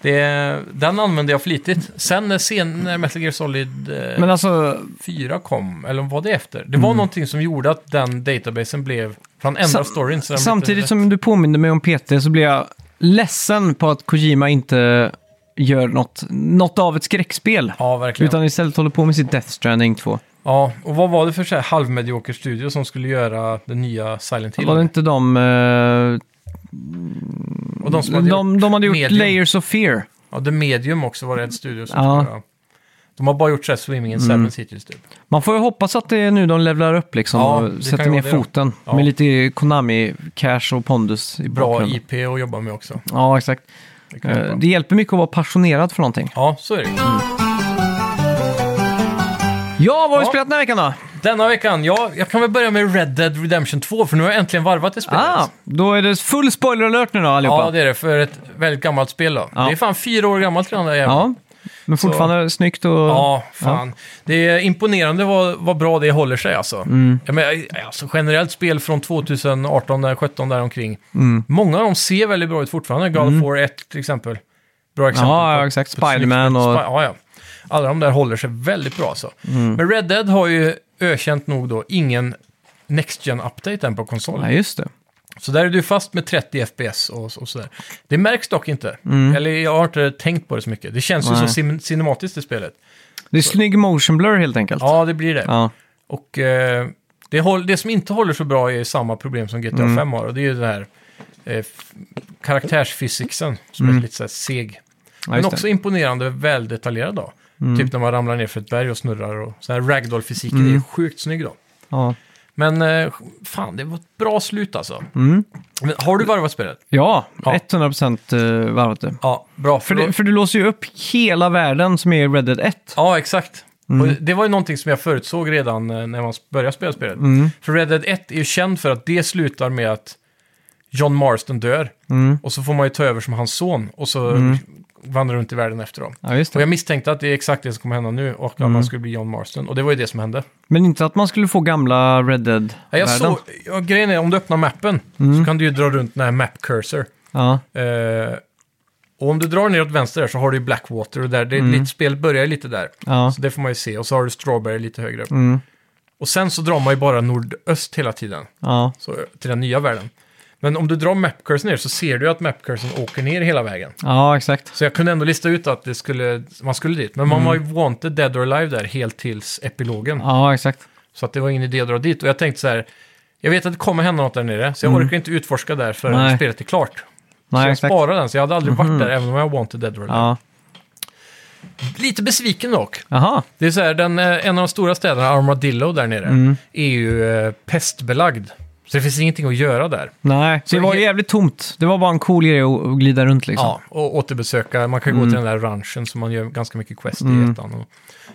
det, den använde jag flitigt. Sen när, sen, när Metal Gear Solid eh, Men Mm. alltså, 4 kom, eller var det efter? Det var någonting som gjorde att den databasen blev... För han ändrade Sam- storyn. Så den blev samtidigt rätt- som du påminner mig om PT så blir jag ledsen på att Kojima inte gör något, något av ett skräckspel. Ja, verkligen. Utan istället håller på med sitt Death Stranding 2. Ja, och vad var det för så här halvmedioker studio som skulle göra den nya Silent Hill? Var det inte de... eh, och de som hade gjort, de, de hade gjort Medium. Layers of Fear. ja, The Medium också var det ett studio som Ja. Mm. skulle göra. De har bara gjort så här Swimming in Seven Cities typ. Man får ju hoppas att det är nu de levlar upp liksom Ja, det och kan sätter ju ner vara det då. foten. Ja. Med lite Konami-cash och pondus i Bra bakgrunden. IP att jobba med också. Ja, exakt. Det kan vara Eh, bra. Det hjälper mycket att vara passionerad för någonting. Ja, så är det. Ja, vad har vi Ja. spelat den här veckan då? Denna veckan, ja, jag kan väl börja med Red Dead Redemption 2, för nu har jag äntligen varvat det spelet. Ah, då är det full spoiler alert nu då allihopa. ja, det är det, för ett väldigt gammalt spel då. Ja. Det är fan fyra år gammalt redan, det här jävla Ja, men fortfarande snyggt och... Ja, fan. Det är imponerande vad, vad bra det håller sig alltså. Mm. Ja, men, alltså generellt spel från 2018, där, 17 där omkring. Mm. Många av dem ser väldigt bra ut fortfarande. God of War 1 till exempel. Bra exempel. Ja, på- ja, exakt. på ett snyggt- Spiderman och- Mm. Spi- Ja, ja. Alla de där håller sig väldigt bra alltså. Men Red Dead har ju ökänt nog då ingen Next gen update än på konsol. ja, just det. Så där är du fast med 30 FPS och, och sådär. Det märks dock inte. Eller jag har inte tänkt på det så mycket. Det känns ju Mm. Nej. så cin cinematiskt i spelet. Det är snygg motion blur helt enkelt. Ja, det blir det. Ja. Och eh, det, håll, det som inte håller så bra är samma problem som GTA Mm. 5 har. Och det är ju den här eh, f- karaktärsfysiken som är lite så här seg. Mm. Ja, Men just det. Mm. också imponerande väldetaljerad då. Typ när man ramlar ner för ett berg och snurrar och så här ragdoll-fysiken Mm. är ju sjukt snygg då. Ja. Men eh, fan, det var ett bra slut alltså. Mm. Men har du varvat spelet? Ja, Ja. 100% eh, varvat det. Ja, bra. För, det, för du låser ju upp hela världen som är i Red Dead 1. Ja, exakt. Mm. Och det var ju någonting som jag förutsåg redan eh, när man började spela spelet. Mm. För Red Dead 1 är ju känd för att det slutar med att John Marston dör. Och så får man ju ta över som hans son. Och så vandrar runt i världen efter dem. Ja, just Och det. jag misstänkte att det är exakt det som kommer hända nu och att man skulle bli John Marston. Och det var ju det som hände. Men inte att man skulle få gamla Red Ja, Jag Dead-världen. såg, ja, grejen är, om du öppnar mappen så kan du ju dra runt den här map cursor. Ja, Eh, och om du drar neråt vänster där så har du ju Blackwater och där, det, ditt spel börjar ju lite där. ja. Mm. Så det får man ju se. Och så har du Strawberry lite högre upp. Och sen så drar man ju bara nordöst hela tiden. ja. Så, till den nya världen. Men om du drar mapcursen ner så ser du att mapcursen åker ner hela vägen. ja exakt. Så jag kunde ändå lista ut att det skulle, man skulle dit. Men man var ju wanted dead or alive där helt tills epilogen. Mm. Ja, exakt. Så att det var ingen idé att dra dit. Och jag tänkte så här, jag vet att det kommer hända något där nere. Så jag orkar inte utforska där förrän Mm. Nej. spelet är klart. så Nej, jag exakt. Mhm. sparar den, så jag hade aldrig varit där även om jag wanted dead or alive. Ja. Lite besviken dock. Jaha, Det är så här, den, eh, en av de stora städerna, Armadillo där nere, Mm. är ju eh, pestbelagd. Så det finns ingenting att göra där. nej. Så det var he- jävligt tomt. Det var bara en cool grej att att glida runt liksom. Mm. Ja, och återbesöka. Man kan gå till den där ranchen som man gör ganska mycket quest i ettan. Och,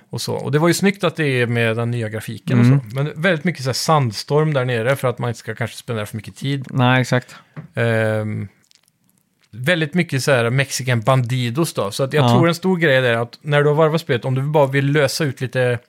och, så. och det var ju snyggt att det är med den nya grafiken och Mm. så. Men väldigt mycket så här sandstorm där nere för att man inte ska kanske spendera för mycket tid. Nej, exakt. Ehm, väldigt mycket så här mexican bandidos då. Så att jag Ja. tror en stor grej där är att när du har varvat spelet, om du bara vill lösa ut lite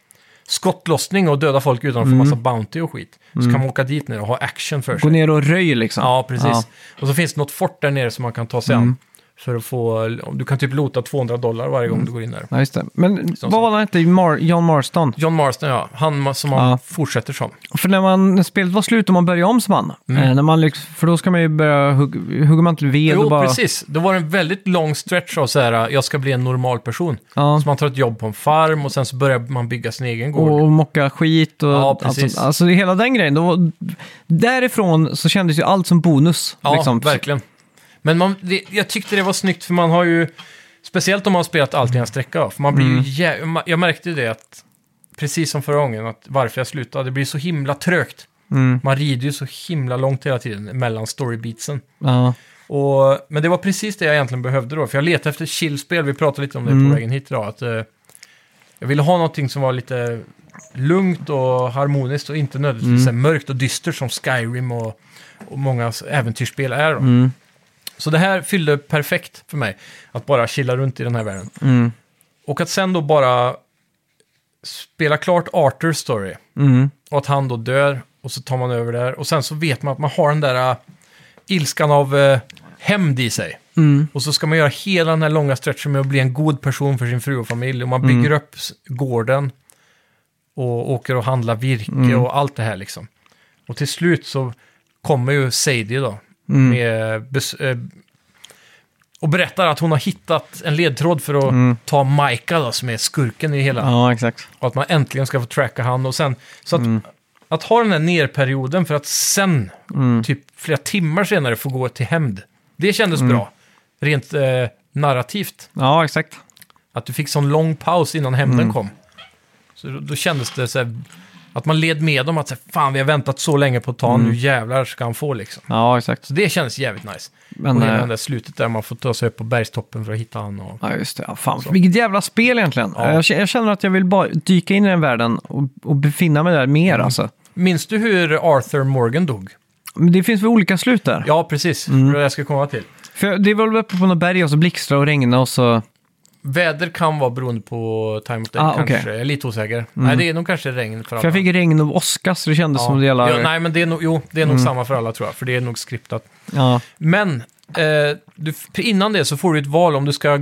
skottlossning och döda folk utan att Mm. få massa bounty och skit, så kan man åka dit nu och ha action för sig. Gå Mm. ner och röj liksom. Ja, precis. Ja. Mm. Och så finns det något fort där nere som man kan ta sig an. För att få, du kan typ lota 200 dollar varje Mm. gång du går in där. Ja, just det. Men som- vad var han hette? Mar- John Marston? John Marston, ja. Han som man Ja. fortsätter som. För när, man, när spelet var slut och man började om som han. Eh, när man liksom, för då ska man ju börja, hugg, hugger man till ved Mm. Jo, och bara... precis. Det var en väldigt lång stretch av så här, jag ska bli en normal person. Ja. Så man tar ett jobb på en farm och sen så börjar man bygga sin egen gård. Och mocka skit och Ja, allt precis. sånt. Alltså hela den grejen. Då, därifrån så kändes ju allt som bonus. Ja, liksom. verkligen. Men man, det, jag tyckte det var snyggt för man har ju, speciellt om man har spelat allt i en sträcka, då, för man blir Mm. ju jä- ma- jag märkte ju det att, precis som förra gången, att varför jag slutade, det blir så himla trögt. Mm. Man rider ju så himla långt hela tiden mellan storybeatsen. Ja. Och, men det var precis det jag egentligen behövde då, för jag letade efter chillspel, vi pratade lite om det på vägen hit idag, att eh, jag ville ha någonting som var lite lugnt och harmoniskt och inte nödvändigtvis så här mörkt och dystert som Skyrim och, och många äventyrsspel är. Då. Mm. Så det här fyllde perfekt för mig, att bara chilla runt i den här världen. Mm. Och att sen då bara spela klart Arthur story, Mm. och att han då dör, och så tar man över där, och sen så vet man att man har den där äh, ilskan av äh, hämnd i sig. Mm. Och så ska man göra hela den här långa stretchen med att bli en god person för sin fru och familj. Och man bygger upp s- gården och åker och handlar virke och allt det här liksom. Och till slut så kommer ju Sadie då Mm. med bes- eh, och berättar att hon har hittat en ledtråd för att ta Micah då, som är skurken i hela. ja, exakt. Och att man äntligen ska få tracka han och sen... Så att, att ha den här nerperioden för att sen, Mm. typ flera timmar senare, få gå till hämnd. Det kändes bra. Rent eh, narrativt. Ja, exakt. Att du fick sån lång paus innan hämnden Mm. kom. Så då, då kändes det så här, att man led med dem att så här, fan vi har väntat så länge på att ta Mm. nu jävlar ska han få liksom. Ja, exakt. Så det kändes jävligt nice. Men, och hela eh, det där slutet där man får ta sig upp på bergstoppen för att hitta han och... Ja, just det. Ja, fan. Vilket jävla spel egentligen. Jag, k- jag känner att jag vill bara dyka in i den världen och, och befinna mig där mer Mm. alltså. Minns du hur Arthur Morgan dog? Men det finns väl olika slut där? Ja, precis. Mm. Det var det jag ska komma till. För jag- det var väl uppe på något berg och så blixtra och regna och så... Väder kan vara beroende på time of day, Ah, kanske. okej. Mm. Jag är lite osäker. Nej, det är nog kanske regn för alla. För jag fick regn och åska så det kändes som det Mm. ja, gällde... nej, men det är nog, jo, det är nog samma för alla tror jag, för det är nog skriptat. ja. Men eh, du, innan det så får du ett val om du ska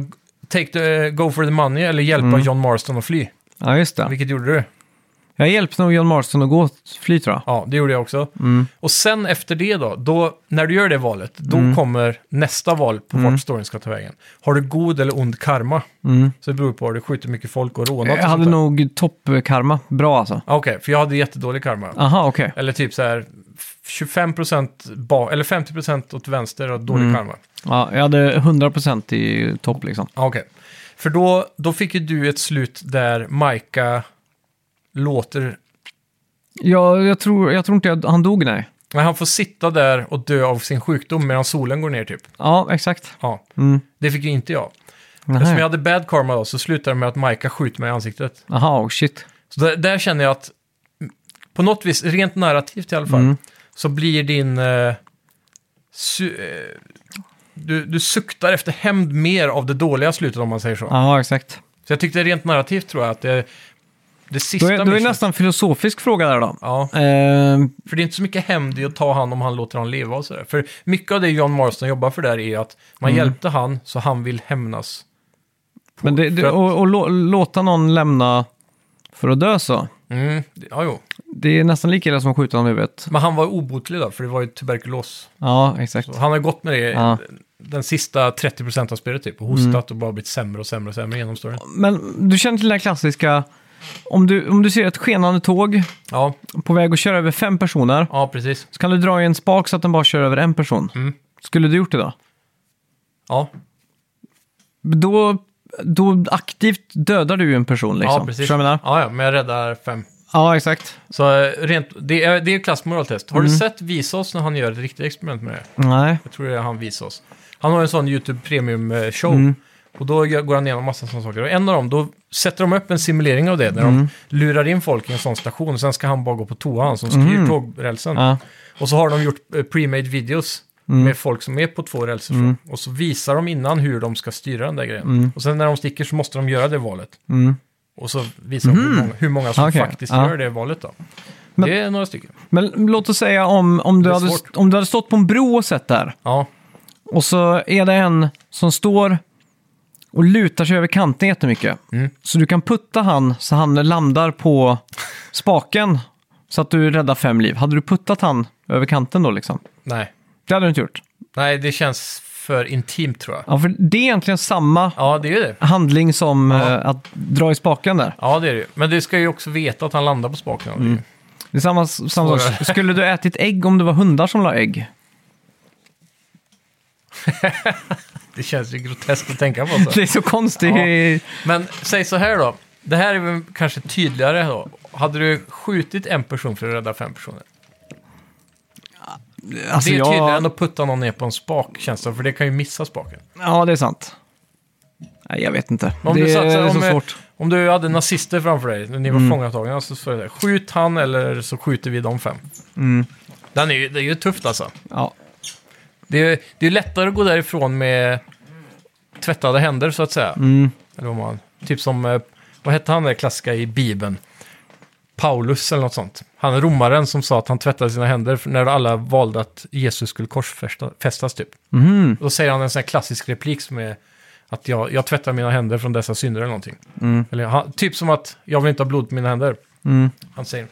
take the, eh, go for the money eller hjälpa John Marston att fly. Mm. ja, just det. Vilket gjorde du? Jag hjälpte nog John Marston att gå och fly tror jag. Ja, det gjorde jag också. Och sen efter det då, då, när du gör det valet, då Mm. kommer nästa val på vart storyn ska ta vägen. Har du god eller ond karma? Så det beror på, har du skjutit mycket folk och rånat? och Mm. Jag sånt hade där. nog toppkarma. Bra alltså. Ah, Okej, för jag hade jättedålig karma. Aha, okej. Eller typ så här 25% ba- eller 50% åt vänster och dålig Mm. karma. Ja, jag hade 100% i topp liksom. Ja, okej. För då, då fick ju du ett slut där Maika låter... Jag, jag, tror, jag tror inte jag, han dog, nej. Nej, han får sitta där och dö av sin sjukdom medan solen går ner typ. Ja, exakt. Ja, Mm. det fick ju inte jag. Eftersom jag Jaha, hade bad karma då så slutade det med att Maika skjuter mig i ansiktet. Aha, oh, shit. Så där, där känner jag att mm, på något vis, rent narrativt i alla fall, Mm. så blir din... Eh, su- eh, du, du suktar efter hämnd mer av det dåliga slutet om man säger så. Ja, exakt. Så jag tyckte rent narrativt tror jag att det, det Då sista... är, då är det missionet- nästan en filosofisk fråga där då. Ja, Eh, för det är inte så mycket hämnd i att ta hand om han låter han leva och sådär. För mycket av det John Marston jobbar för där är att man Mm. hjälpte han så han vill hämnas. men det, för det, att- och, och lå, låta någon lämna för att dö så. Mm, det- ja, jo. Det är nästan lika illa som att skjuta honom i huvudet. Men han var obotlig då, för det var ju tuberkulos. Ja, exakt. Så han har ju gått med det Ja. Mm. den sista 30% av spelet typ och hostat och bara blivit sämre och sämre och sämre genom storyn. Men du känner till den här klassiska, om du, om du ser ett skenande tåg Ja, på väg att köra över fem personer, ja precis. så kan du dra i en spak så att den bara kör över en person. Mm. Skulle du gjort det då? Ja, Då, då aktivt dödar du ju en person liksom. ja precis. Förstår du vad jag menar? Ja, ja, men jag räddar fem. Ja, exakt. Så eh, rent, det är, det är klassmoraltest. Har Mm. du sett Visa oss när han gör ett riktigt experiment med det? Nej. Jag tror det är han visar oss. Han har en sån YouTube Premium-show. Mm. Och då gör- går han igenom massa sådana saker. Och en av dem, då sätter de upp en simulering av det. När Mm. de lurar in folk i en sån station. Sen ska han bara gå på toa, han som styr tågrälsen. Mm. Ja. Mm. Och så har de gjort eh, pre-made videos med folk som är på två rälser. ifrån. Och så visar de innan hur de ska styra den där grejen. Mm. Och sen när de sticker så måste de göra det valet. Och så visar de hur många, hur många som Mm. Okej, faktiskt ja. gör det valet då. Men- det är några stycken. Men låt oss säga om, om, du Det är hade, svårt. om du hade stått på en bro och sett där. Ja, Och så är det en som står och lutar sig över kanten jättemycket. Mm. Så du kan putta han så han landar på spaken så att du räddar fem liv. Hade du puttat han över kanten då liksom? Nej. Det hade du inte gjort. Nej, det känns för intimt tror jag. Ja, för det är egentligen samma Ja, det är ju det. handling som eh, att dra i spaken där. Ja, det är det ju. Men du ska ju också veta att han landar på spaken. Mm. Det är samma, samma sak. Svårare. Skulle du ätit ägg om det var hundar som la ägg? Det känns ju groteskt att tänka på. Så. Det är så konstigt. Men säg så här då. Det här är väl kanske tydligare då. Hade du skjutit en person för att rädda fem personer? Alltså, det är jag- tydligare än att putta någon ner på en spak, känns det. För det kan ju missa spaken. Ja, det är sant. Nej, jag vet inte. Om det du satsar- är om, så eh, svårt. Mm. Om du hade nazister framför dig, när ni var fångatagna, så står det där. Skjut han eller så skjuter vi de fem. Mm. Den är ju, det är ju tufft alltså. Ja. Det är, det är lättare att gå därifrån med tvättade händer, så att säga. Mm. Eller vad man, typ som, eh, vad hette han där klassiska i Bibeln? Paulus eller något sånt. Han är romaren som sa att han tvättade sina händer för- när alla valde att Jesus skulle korsfästas typ. Mhm. Då säger han en sån här klassisk replik som är att jag, jag tvättar mina händer från dessa synder eller någonting. Eller han, typ som att jag vill inte ha blod på mina händer. Mm. Han säger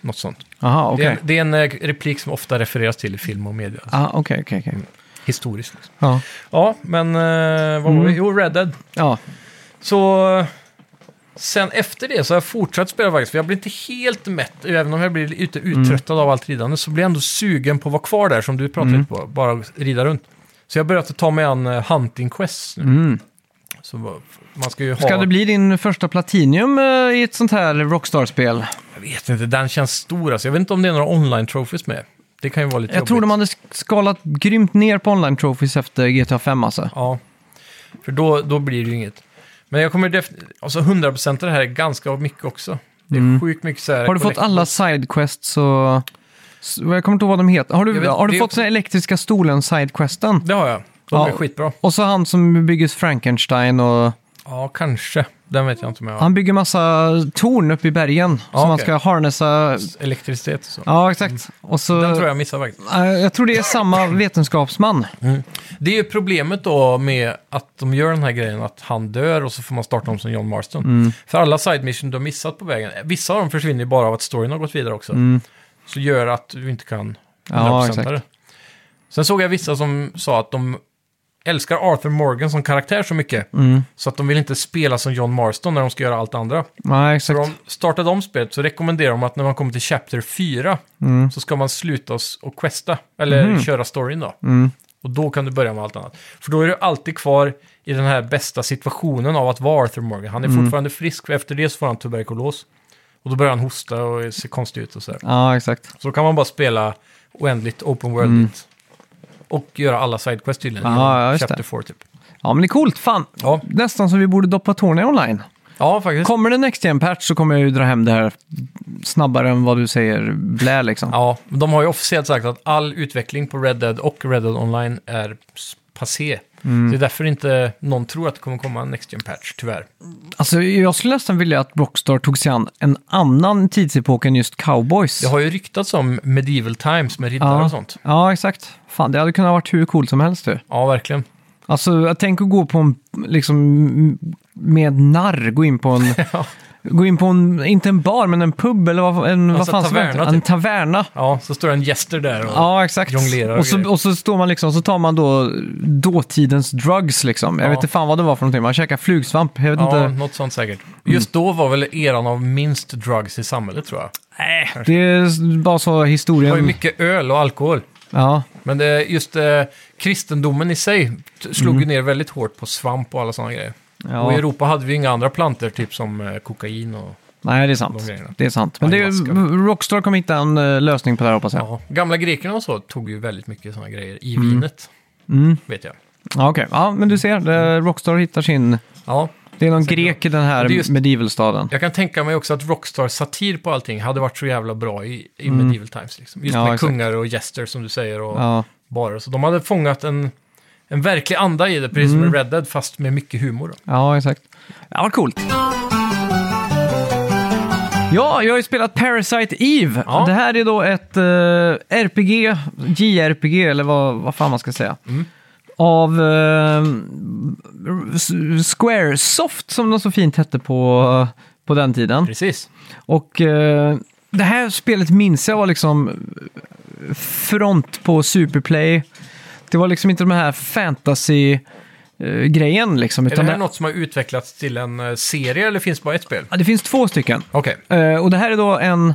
något sånt. Aha, Det, är, okej. en- det är en eh, replik som ofta refereras till i film och media. alltså, Ah, Okej, okej, okej. Historiskt. Liksom. Ja. Ja, men eh, vad Mm. var vi? Jo, Red Dead. Ja. Så eh, sen efter det så har jag fortsatt spela faktiskt, för jag blir inte helt mätt, även om jag blir lite Mm. uttröttad av allt ridande, så blir jag ändå sugen på att vara kvar där, som du Mm. pratade lite på, bara rida runt. Så jag började ta mig an eh, Hunting Quest nu. Mm. Så vad- man ska ju ha... Ska det bli din första Platinium eh, i ett sånt här Rockstar-spel? Jag vet inte, den känns stor alltså. Jag vet inte om det är några online-trophies med. Det kan ju vara lite Jag jobbigt. tror de hade sk- skalat grymt ner på online trophies efter GTA 5 alltså. Ja, för då, då blir det ju inget. Men jag kommer definitivt... Alltså 100% det här är ganska mycket också. Det är sjukt mycket så här... Mm. Har du fått alla sidequests och... s- Jag kommer inte ihåg vad de heter. Har du, Jag vet- har du det- fått den elektriska stolen, sidequesten? Det har jag. De Ja. är skitbra. Och så han som bygger Frankenstein och... Ja, kanske. Den vet jag inte om jag har. Han bygger massa torn uppe i bergen som man okej. ska harnessa. Elektricitet och så. Ja, exakt. Och så... Den tror jag missar faktiskt. Eh, Jag tror det är samma vetenskapsman. Det är ju problemet då med att de gör den här grejen att han dör och så får man starta om som John Marston. Mm. För alla side mission du har missat på vägen, vissa av dem försvinner ju bara av att storyn har gått vidare också. Så gör att du inte kan Mm. Ja, 100% exakt. det. Sen såg jag vissa som sa att de älskar Arthur Morgan som karaktär så mycket Mm. så att de vill inte spela som John Marston när de ska göra allt det andra. Nej, För exakt. om startar om spelet så rekommenderar de att när man kommer till Chapter 4 Mm. så ska man sluta oss och questa, eller köra storyn då. Mm. Och då kan du börja med allt annat. För då är du alltid kvar i den här bästa situationen av att vara Arthur Morgan. Han är Mm. fortfarande frisk, för efter det så får han tuberkulos. Och då börjar han hosta och ser konstig ut och sådär. Ja, exakt. Så då kan man bara spela oändligt open world Och göra alla sidequests tydligen. Ja, Mm. ja, i just Chapter det. 4 typ. Ja, men det är coolt. Fan, Ja, nästan som vi borde doppa tårna i online. ja faktiskt. Kommer det Next Gen Patch så kommer jag ju dra hem det här snabbare än vad du säger blä liksom. Ja, men de har ju officiellt sagt att all utveckling på Red Dead och Red Dead Online är s- passé. Mm. Så det är därför inte någon tror att det kommer komma en Next Gen Patch, tyvärr. Alltså, jag skulle nästan vilja att Rockstar tog sig an en annan tidsepok än just cowboys. Det har ju ryktats om Medieval Times med riddare ja. och sånt. Ja, exakt. Fan, det hade kunnat varit hur coolt som helst du. Ja, verkligen. Alltså, jag tänker gå på en, liksom, med narr, gå in på en, Ja. gå in på en, inte en bar, men en pub eller vad, en, vad Alltså, fan som taverna, heter typ. En taverna. Ja, så står det en gäster där och... Ja, exakt. jonglerar och och, så, grejer. och så står man liksom, så tar man då dåtidens drugs liksom. Jag Ja. vet inte fan vad det var för någonting. Man käkar flugsvamp, jag vet Ja, inte. något sånt säkert. Just då var väl eran av minst drugs i samhället, tror jag. Det är bara så Det var ju historien... mycket öl och alkohol. Ja, Men det, just eh, kristendomen i sig t- slog ju ner väldigt hårt på svamp och alla sådana grejer. Och i Mm. ja. Europa hade vi ju inga andra planter typ som eh, kokain och... Nej, det är de sant. grejerna. Det är sant. Men det Ayahuasca. är, Rockstar kommer hitta en eh, lösning på det här hoppas jag. Ja. Gamla grekerna och så tog ju väldigt mycket sådana grejer i vinet, Mm. vet jag. Ja, okej. Ja, men du ser. eh, Rockstar hittar sin... Ja, Det är någon Säkert. grek i den Ja, här det är just- medievalstaden. jag kan tänka mig också att Rockstars satir på allting hade varit så jävla bra i, i Medieval Times. Liksom. Just Mm. Ja, med exakt. kungar och gäster som du säger och Ja. barer. Så de hade fångat en, en verklig anda i det, precis Mm. som i Red Dead, fast med mycket humor. Då. Ja, exakt. Ja, vad coolt. Ja, jag har ju spelat Parasite Eve. Ja. Det här Mm. är då ett eh, RPG, JRPG eller vad, vad fan man ska säga. av eh, S- Squaresoft som de så fint hette på, på den tiden. Precis. Och eh, det här spelet minns jag var liksom front på Superplay. Det var liksom inte de här fantasy-grejen liksom. Är det Utan det, här något som har utvecklats till en eh, serie eller finns bara ett spel? ja, det finns två stycken. Okej. Eh, och det här är då en...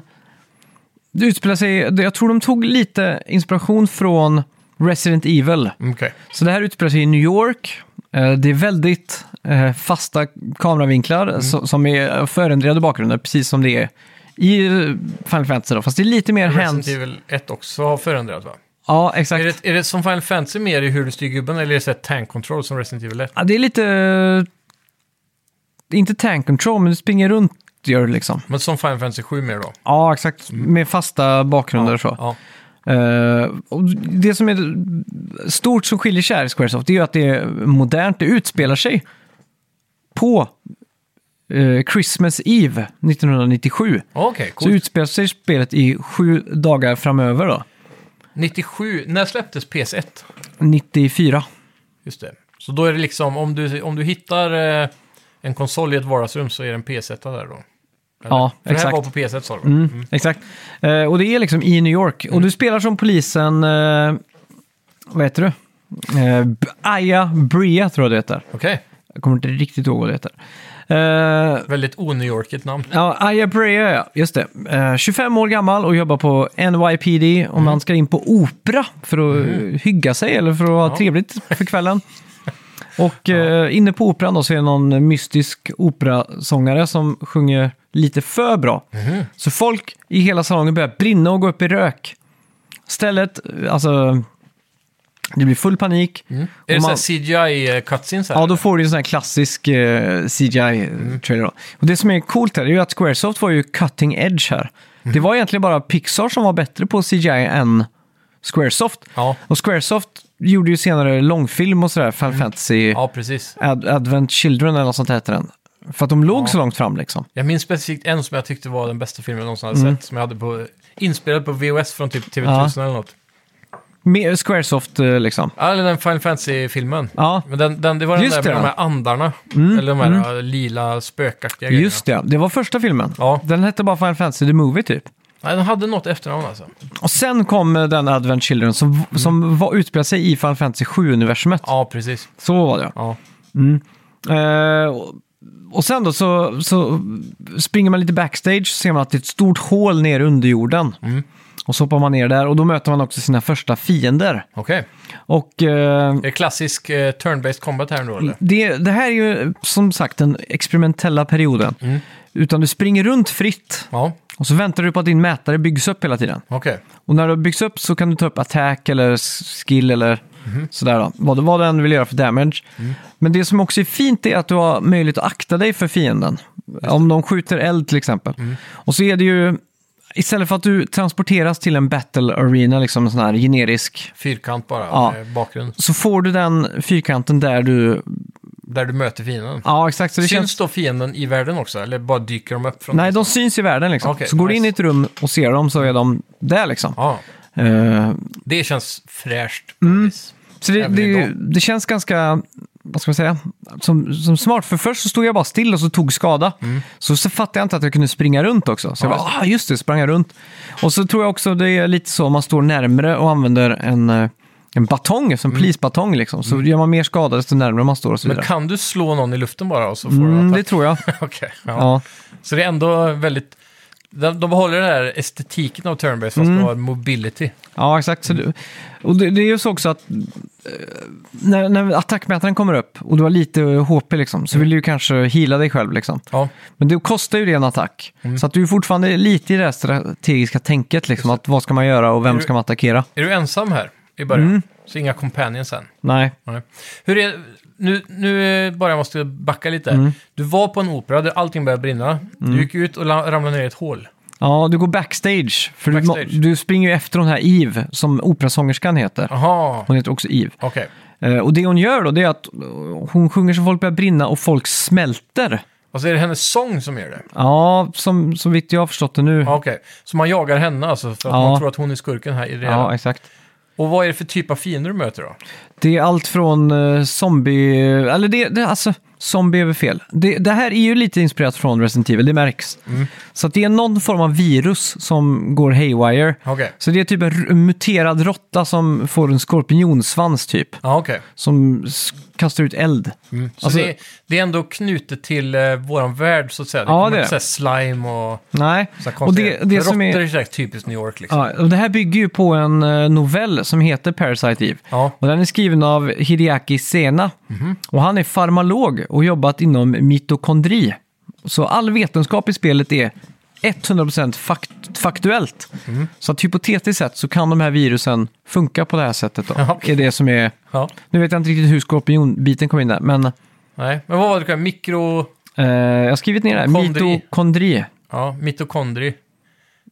Det utspelar sig... det- Jag tror de tog lite inspiration från Resident Evil. Mm, Okej. Så det här utspelar sig i New York. Eh, Det är väldigt eh, fasta kameravinklar Mm. so- som är förändrade bakgrunder, precis som det är i eh, Final Fantasy. Då. Fast det är lite mer hands... Resident Evil 1 också har förändrat va? Ja, Är exakt. det, är det som Final Fantasy mer i hur du styr gubben eller är det så här tank control som Resident Evil 1? Ja, det är lite... eh, Inte tank control, men du springer runt gör du liksom. Men som Final Fantasy 7 mer då? Ja, exakt. Med fasta bakgrunder och så. Ja. Eh, och det som är stort som skiljer sig här i Squaresoft det är ju att det är modernt, det utspelar sig på eh, Christmas Eve 1997. Okej, Så coolt. utspelar sig spelet i sju dagar framöver då, 97, när släpptes PS1? 94. Just det. Så då är det liksom, om du, om du hittar eh, en konsol i ett vardagsrum så är det en PS1 där då? Eller? Ja, För Det här exakt. var på PS1 sa du va? Mm, Exakt. Eh, och det är liksom i New York. Och du spelar som polisen, eh, vad heter du? Eh, B- Aya Bria tror jag det heter. Okej, Jag kommer inte riktigt ihåg vad det heter. Eh, väldigt o-New-Yorkigt namn. Ja, Aya Brea, ja. Just det. Eh, 25 år gammal och jobbar på NYPD och man ska in på opera för att eh, hygga sig eller för att ha Ja. trevligt för kvällen. Och eh, inne på operan då så är det någon mystisk operasångare som sjunger lite för bra. Så folk i hela salongen börjar brinna och gå upp i rök. Stället, eh, alltså, det blir full panik. Och Är det man- man... CGI-cutscenes eh, här? Ja, då får du en sån här klassisk eh, Mm. CGI-trailer. då. Och det som är coolt här är ju att Squaresoft var ju cutting edge här. Mm. Det var egentligen bara Pixar som var bättre på CGI än Squaresoft. ja. Och Squaresoft gjorde ju senare långfilm och sådär, Final Fantasy Mm. ja, precis. Ad- Advent Children eller något sånt hette den. För att de låg så långt fram liksom. Jag minns specifikt en som jag tyckte var den bästa filmen jag någonsin hade Mm. sett. Som jag hade på, inspelad på VHS från typ TV1000 eller något. Med Squaresoft eh, liksom. Ja, Eller den Final Fantasy-filmen. Ja, Men den, den, det var den Just där det, med de ja. här andarna. Eller de här äh, lila spökaktiga grejerna. just det. Det var första filmen. Ja. Den hette bara Final Fantasy The Movie typ. Nej, den hade något efternamn alltså. Och sen kom eh, den Advent Children som, Mm. som var, utspelade sig i Final Fantasy 7-universumet. Ja, precis. Så var det. Ja. Eh, och- och sen då så, så springer man lite backstage så ser man att det är ett stort hål ner under jorden. Och så hoppar man ner där och då möter man också sina första fiender. Okej. Och eh, Är det klassisk eh, turn-based combat här nu eller? det, det här är ju som sagt den experimentella perioden. Utan du springer runt fritt Ja, och så väntar du på att din mätare byggs upp hela tiden. okej. Och när du har byggts upp så kan du ta upp attack eller skill eller Mhm. sådär då. Vad, vad den vill göra för damage. Mm. Men det som också är fint är att du har möjlighet att akta dig för fienden. Om de skjuter eld till exempel. Mm. Och så är det ju, istället för att du transporteras till en battle arena, liksom en sån här generisk, Fyrkant bara, Ja. eh, bakgrund. så får du den fyrkanten där du... Där du möter fienden. Ja, exakt. Så det Syns känns... då fienden i världen också, eller bara dyker de upp från... Nej, de syns i världen liksom. Okej, så går du in nice. i ett rum och ser dem så är de där liksom. Ja, Eh, det känns fräscht. på Mm. något vis. Så det, Även det, idag. det känns ganska, vad ska man säga, som, som smart. För först så stod jag bara still och så tog skada. Mm. Så, så fattade jag inte att jag kunde springa runt också. Så jag bara, ah just det, sprang jag runt. Och så tror jag också det är lite så, om man står närmre och använder en, eh, en batong, som Mm. polisbatong liksom. Så gör man mer skada desto närmare man står och så Men vidare. kan du slå någon i luften bara och så får Mm, du det attack? tror jag. Okej, ja. Ja. Så det är ändå väldigt... De, de behåller den här estetiken av turn-based, Mm. fast de har mobility. Ja, exakt. Så du, och det, det är ju så också att eh, när, när attackmätaren kommer upp och du har lite eh, HP liksom, Mm. så vill du ju kanske heala dig själv liksom. Ja, Men det kostar ju det en attack. Mm. Så att du är fortfarande lite i det här strategiska tänket. Liksom, att vad ska man göra och vem ska man attackera? är du ensam här i början? Mm. Så inga companions än? Nej. Nej. Hur är, nu, nu eh, bara jag måste backa lite. Mm. Du var på en opera där allting började brinna. Du gick ut och la- ramlade ner i ett hål. Ja, du går backstage. För du må- Backstage. Du, springer ju efter den här Eve, som operasångerskan heter. Aha, Hon heter också Eve. okej. Eh, och det hon gör då, det är att eh, hon sjunger så folk börjar brinna och folk smälter. Och så är det hennes sång som gör det. Mm. Ja, som, så vitt jag har förstått det nu. Ja, Okej, så man jagar henne alltså för att Ja. man tror att hon är skurken här i det Ja, hela. exakt. Och vad är det för typ av fiender du möter då? Det är allt från eh, zombie... Eller det, det alltså, zombie är väl fel. Det, det här är ju lite inspirerat från Resident Evil, det märks. Mm. Så att det är någon form av virus som går haywire. Okej. Så det är typ en r- muterad råtta som får en skorpionsvans typ. Ja, okej. Som s- kastar ut eld. Mm. Så Alltså- det, det är ändå knutet till eh, våran värld så att säga. Det Ja, det kommer är inte så här slime och Nej, så här och konstiga... det, det som Råttor är... är direkt typiskt New York liksom. Ja, och det här bygger ju på en eh, novell som heter Parasite Eve. Ja. Mhm. Och den är skriven av Hideaki Sena. Och han är farmalog och jobbat inom mitokondri. Så all vetenskap i spelet är 100% fakt- faktuellt. Mhm. Så att hypotetiskt sett så kan de här virusen funka på det här sättet. Då. Ja. Är det som är... Ja. Nu vet jag inte riktigt hur skorpionbiten kom in där, men Nej, men vad var det? du kallade? Mikro... eh, jag har skrivit ner det här. Kondri. Mitokondri. Ja, mitokondri.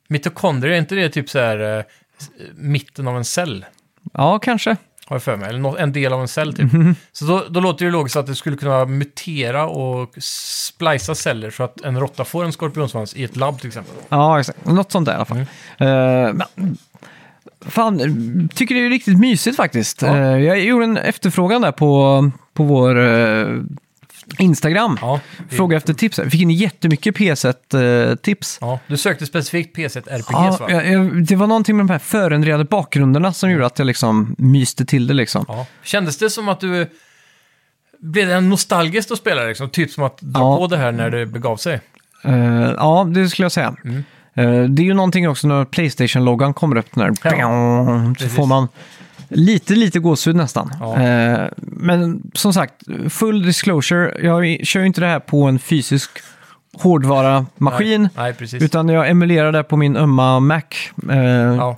Mitokondri, är inte det typ så här eh, s- mitten av en cell? Ja, kanske. Har jag för mig. Eller nå- en del av en cell typ. Mhm. Så då, då låter det ju logiskt att det skulle kunna mutera och splicea celler så att en råtta får en skorpionsvans i ett labb till exempel. Ja, exakt. Något sånt där i alla fall. Mm. Eh, men, fan, tycker det är riktigt mysigt faktiskt. Ja. Eh, jag gjorde en efterfrågan där på, på vår eh, Instagram. Ja, det- Fråga efter tips. Jag fick in jättemycket PS1-tips. Ja, du sökte specifikt PC1 RPGs Ja, va? jag, jag, det var någonting med de här förändrade bakgrunderna Mm. som gjorde att jag liksom myste till det liksom. Ja. Kändes det som att du blev en nostalgisk att spela liksom? Typ som att dra Ja. på det här när det begav sig? Eh, ja, det skulle jag säga. Mm. Eh, det är ju någonting också när Playstation-loggan kommer upp. När, Ja. så Precis. får man lite, lite gåshud nästan. Ja. Eh, men som sagt, full disclosure. Jag i- kör ju inte det här på en fysisk hårdvara-maskin. Nej, nej precis. Utan jag emulerar det på min ömma Mac. Eh, Ja.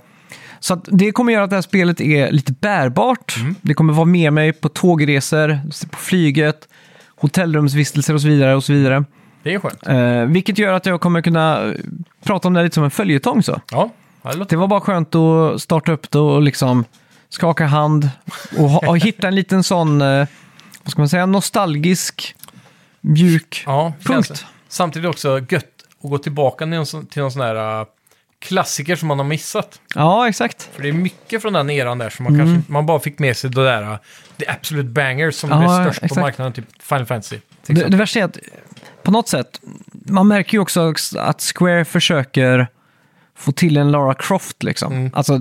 Så att det kommer göra att det här spelet är lite bärbart. Mm. Det kommer vara med mig på tågresor, på flyget, hotellrumsvistelser och så vidare. Och så vidare. Det är skönt. Eh, vilket gör att jag kommer kunna eh, prata om det här lite som en följetong. Så. Ja, ja, det låter Det var bara skönt att starta upp det och liksom skaka hand och, ha, och hitta en liten sån, eh, vad ska man säga, nostalgisk, mjuk... Ja, Punkt. känns det. Samtidigt också gött att gå tillbaka till någon, sån- till någon sån här äh, klassiker som man har missat. Ja, exakt. För det är mycket från den eran där som man Mm. kanske man bara fick med sig det där, äh, the absolute bangers som Ja, blev störst exakt. på marknaden, typ Final Fantasy. till Det, exempel. det värsta är att på något sätt, man märker ju också att Square försöker få till en Lara Croft liksom. Alltså,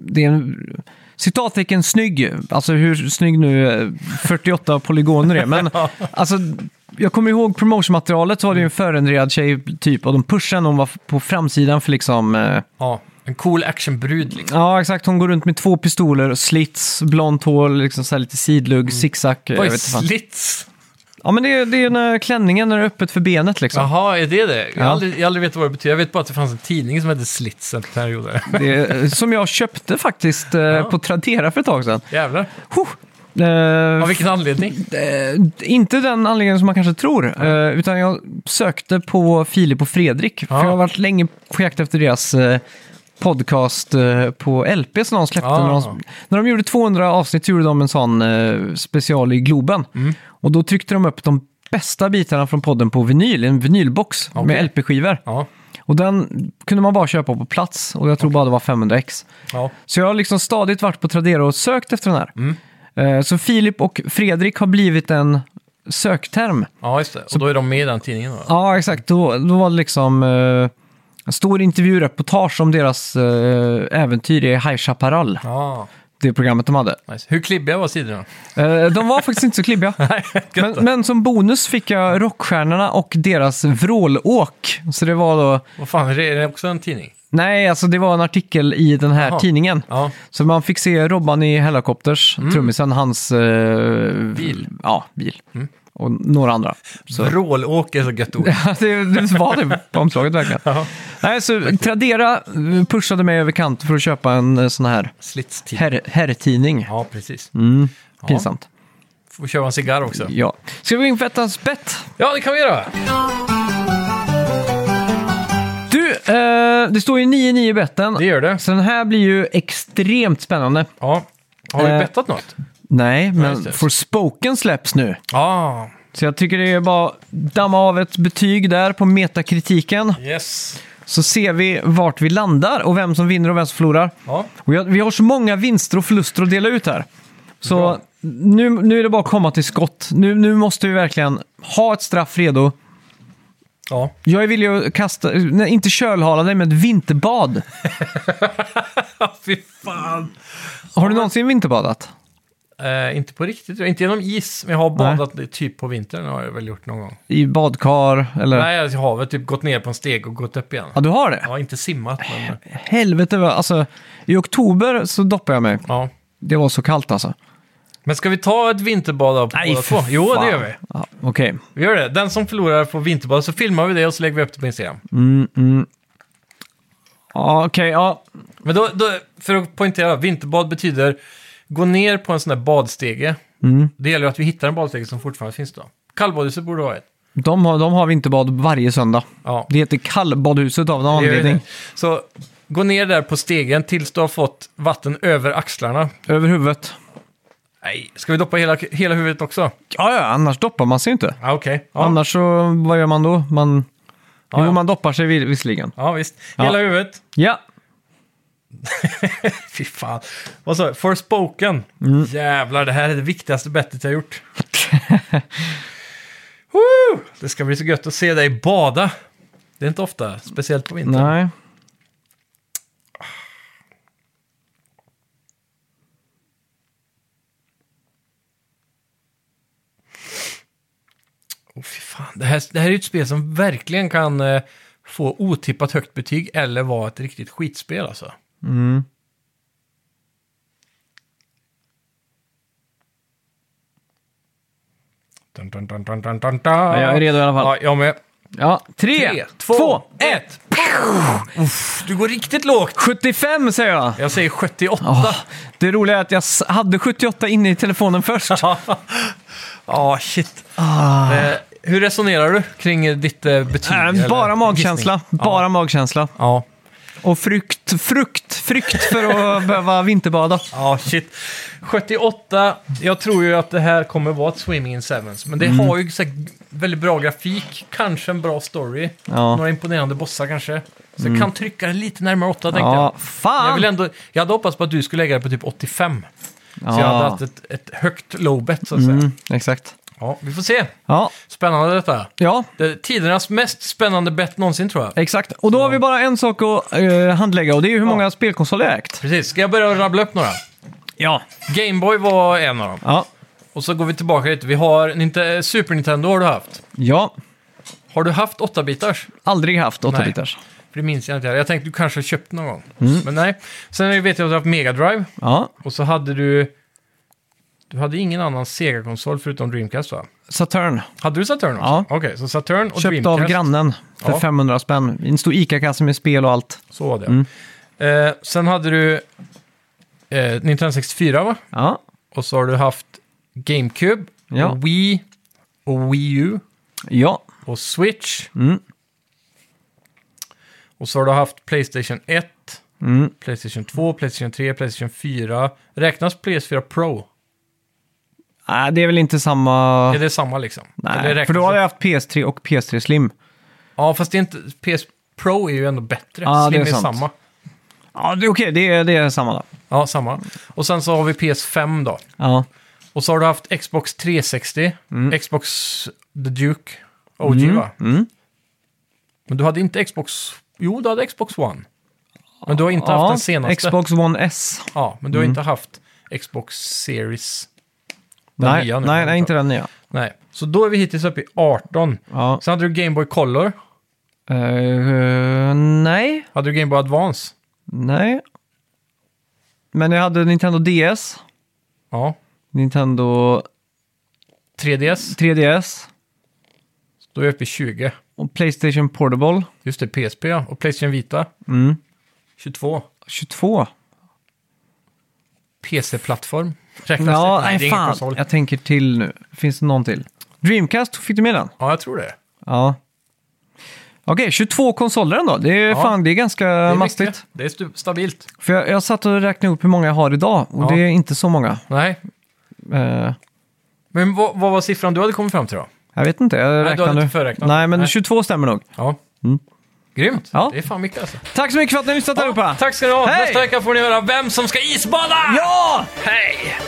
det är en citattecken snygg, alltså hur snygg nu eh, 48 polygoner är, men alltså jag kommer ihåg promotionmaterialet så var det ju en förändrad tjej typ och de pushade henne, hon var på framsidan för liksom, eh, Ja, en cool actionbrud liksom. ja exakt, hon går runt med två pistoler, och slits, blont hår, liksom så här lite sidlugg, zigzag. eh, Vad jag är vet inte fan. slits? Ja men det är, det är när klänningen när det är öppet för benet liksom. Jaha, är det det? Jag har Ja. aldrig, jag har aldrig vet vad det betyder. Jag vet bara att det fanns en tidning som hette Slits en period. där. Det, eh, som jag köpte faktiskt eh, på Tradera för ett tag sedan. Jävlar. Huh. Eh, Av vilken anledning? eh, inte den anledningen som man kanske tror, eh, utan jag sökte på Filip och Fredrik. För Ja. jag har varit länge på jakt efter deras eh, podcast eh, på LP som de släppte. Ja. När, de, när de gjorde 200 avsnitt så gjorde de en sån eh, special i Globen. Mm. Och då tryckte de upp de bästa bitarna från podden på vinyl, en vinylbox Okej. med LP-skivor. Ja, Och den kunde man bara köpa på plats och jag tror bara det var 500 ex. ja. Så jag har liksom stadigt varit på Tradera och sökt efter den här. Eh, Så Filip och Fredrik har blivit en sökterm. ja just det. Och då är de med i den tidningen. Då. Ja, exakt. Då, då var det liksom eh, en stor intervjureportage om deras eh, äventyr i High Chaparral, Ja, det programmet de hade. nice. Hur klibbiga var sidorna? Eh, de var faktiskt inte så klibbiga. men, men som bonus fick jag rockstjärnorna och deras vrålåk. Så det var då... Vad fan, är det, är det också en tidning? Nej, alltså det var en artikel i den här Jaha. tidningen. Ja, Så man fick se Robban i Hellacopters, trummisen, hans... eh, Mm. Bil. Mm. Ja, bil. Och några andra. Så. Vrålåk är så gött ord. Ja, det, det var det på omslaget verkligen. Nej, så Tradera eh, pushade mig över kant för att köpa en eh, sån här Slitstid. herr- herrtidning. Ja, precis. Pinsamt. Får köpa en cigarr också. Ja. Ska vi gå in på ettans bett? Ja, det kan vi göra. Du, eh, det står ju 9-9 i betten. Det gör det. Så den här blir ju extremt spännande. Ja. Har vi Eh. bettat något? Nej, just det. men For Spoken släpps nu. Ja. Så jag tycker det är bara att damma av ett betyg där på metakritiken. Yes. så ser vi vart vi landar och vem som vinner och vem som förlorar. Ja. Och jag, vi har så många vinster och förluster att dela ut här. Så Bra. nu, nu är det bara att komma till skott. Nu, nu måste vi verkligen ha ett straff redo. Ja. Jag vill ju kasta, nej, inte kölhala dig, men ett vinterbad. Fy fan. Har du någonsin vinterbadat? Eh, inte på riktigt, jag- inte genom is, men jag har badat typ på vintern har jag väl gjort någon gång. I badkar eller? Nej, jag har väl typ gått ner på en steg och gått upp igen. Ja, du har det? Jag har inte simmat, men... Helvete vad, alltså. I oktober så doppade jag mig. Ja. Det var så kallt alltså. Men ska vi ta ett vinterbad av båda två? Jo, det gör vi. Ja, Okej. Vi gör det. Den som förlorar får vinterbad, så filmar vi det och så lägger vi upp det på Instagram. Ja, okej, ja. Men då, då, för att poängtera, vinterbad betyder gå ner på en sån där badstege. Mm. Det gäller att vi hittar en badstege som fortfarande finns då. Kallbadhuset borde ha ett. De har, de har vinterbad varje söndag. Ja. Det heter kallbadhuset av någon Det gör anledning. det. Så gå ner där på stegen tills du har fått vatten över axlarna. Över huvudet. Nej, ska vi doppa hela, hela huvudet också? Ja, ja, annars doppar man sig ju inte. Ja, okej. Ja. Annars så, vad gör man då? Man, Ja, jo, ja. man doppar sig vis- visserligen. ja, visst. Hela huvudet. Ja, Fy fan. Vad sa jag? Forspoken. Mm. Jävlar, det här är det viktigaste bettet jag gjort. Woo! det ska bli så gött att se dig bada. Det är inte ofta, speciellt på vintern. nej. Åh, fy fan. Det, här, det här är ju ett spel som verkligen kan eh, få otippat högt betyg eller vara ett riktigt skitspel alltså. Mm. Dun, dun, dun, dun, dun, dun, dun. Ja, jag är redo i alla fall. Ja, jag med. Ja, tre, Tre, två, två, ett. ett. Uff, du går riktigt lågt. 75 säger jag. Jag säger 78. Ah, det roliga är att jag s- hade 78 inne i telefonen först. Ja, shit. Ah. Eh, hur resonerar du kring eh, ditt eh, betyg? Äh, eller bara magkänsla. gissning? Bara Ja. magkänsla. Ja. Och frukt, frukt, frukt för att behöva vinterbada. Ja, shit. 78, jag tror ju att det här kommer vara ett Swimming in Sevens, men det Mm. har ju så här väldigt bra grafik, kanske en bra story, Ja. Mm. några imponerande bossar kanske. Så jag kan trycka det lite närmare 8 tänkte jag. Ja, Men Jag, fan! vill ändå, jag hade hoppats på att du skulle lägga det på typ 85, ja. så jag hade haft ett, ett högt low bet så att säga. mm, Exakt. Ja, vi får se. Ja, Spännande detta. ja, Det är tidernas mest spännande bet någonsin tror jag. exakt. Och då har vi bara en sak att eh, handlägga och det är ju hur många spelkonsoler jag ägt. Precis, ska jag börja rabbla upp några? Ja. Gameboy var en av dem. Ja. Och Och så går vi tillbaka lite. Vi har Ninte- Super Nintendo har du haft. ja, Har du haft 8-bitars? aldrig haft 8-bitars. För det minns jag inte. Jag tänkte du kanske har köpt någon gång. Mm. Men nej. Sen vet jag att du har haft Mega Drive. Ja. Och så hade du... Du hade ingen annan Sega-konsol förutom Dreamcast va? Saturn. Hade du Saturn också? Ja. Okej, så Saturn och Köpt Dreamcast. av grannen för Ja. 500 spänn. I En stor ICA-kasse med spel och allt. Så var det. Mm. Eh, sen hade du eh, Nintendo 64 va? Ja, Och så har du haft GameCube, Ja. och Wii och Wii U ja, och Switch. Mm. Och så har du haft Playstation 1, Mm. Playstation 2, Playstation 3, Playstation 4. Räknas PS4 Pro? Nej, Äh, det är väl inte samma... Är det samma liksom? Eller Nej, räknas för då har det- jag haft PS3 och PS3 Slim. Ja, fast det är inte... PS Pro är ju ändå bättre. Ja, Slim det är sant. samma. Ja, det är okej, det, är, det är samma då. Ja, samma. Och sen så har vi PS5 då. Ja, Och så har du haft Xbox 360, Xbox The Duke, OG va? mm. Men du hade inte Xbox... Jo, du hade Xbox One. Men du har inte haft ja den senaste. Xbox Mm. One S. Ja, men du har inte haft Xbox Series. Den Nej, nya nu, nej, nej, inte den nya. Nej, så då är vi hittills uppe i 18. Ja. Sen hade du Game Boy Color, Eh, nej, hade du Game Boy Advance. nej. Men jag hade Nintendo DS, Ja, Nintendo 3DS, 3DS då är vi uppe i 20. och Playstation Portable. Just det, PSP ja. och Playstation Vita, Mm. 22. 22. PC-plattform. Plattform, räknas Ja, det? nej, det är ingen fan. konsol. Jag tänker till nu. Finns det någon till? Dreamcast, fick du med den? Ja, jag tror det. Ja. Okej, 22 konsoler ändå. Det är, Ja. fan, det är ganska Det är mastigt. mycket. Det är stu- stabilt. För jag, jag satt och räknade upp hur många jag har idag och Ja. det är inte så många. Nej, Eh, men vad, vad var siffran du hade kommit fram till då? jag vet inte, jag du räknar hade nu. inte förräknat. Nej, men Nej. 22 stämmer nog. Ja. Mm. Grymt. Ja. Det är fan mycket alltså. Tack så mycket för att ni har lyssnat allihopa! Tack ska ni ha. Hej! Nästa vecka får ni höra vem som ska isbada! Ja! Hej!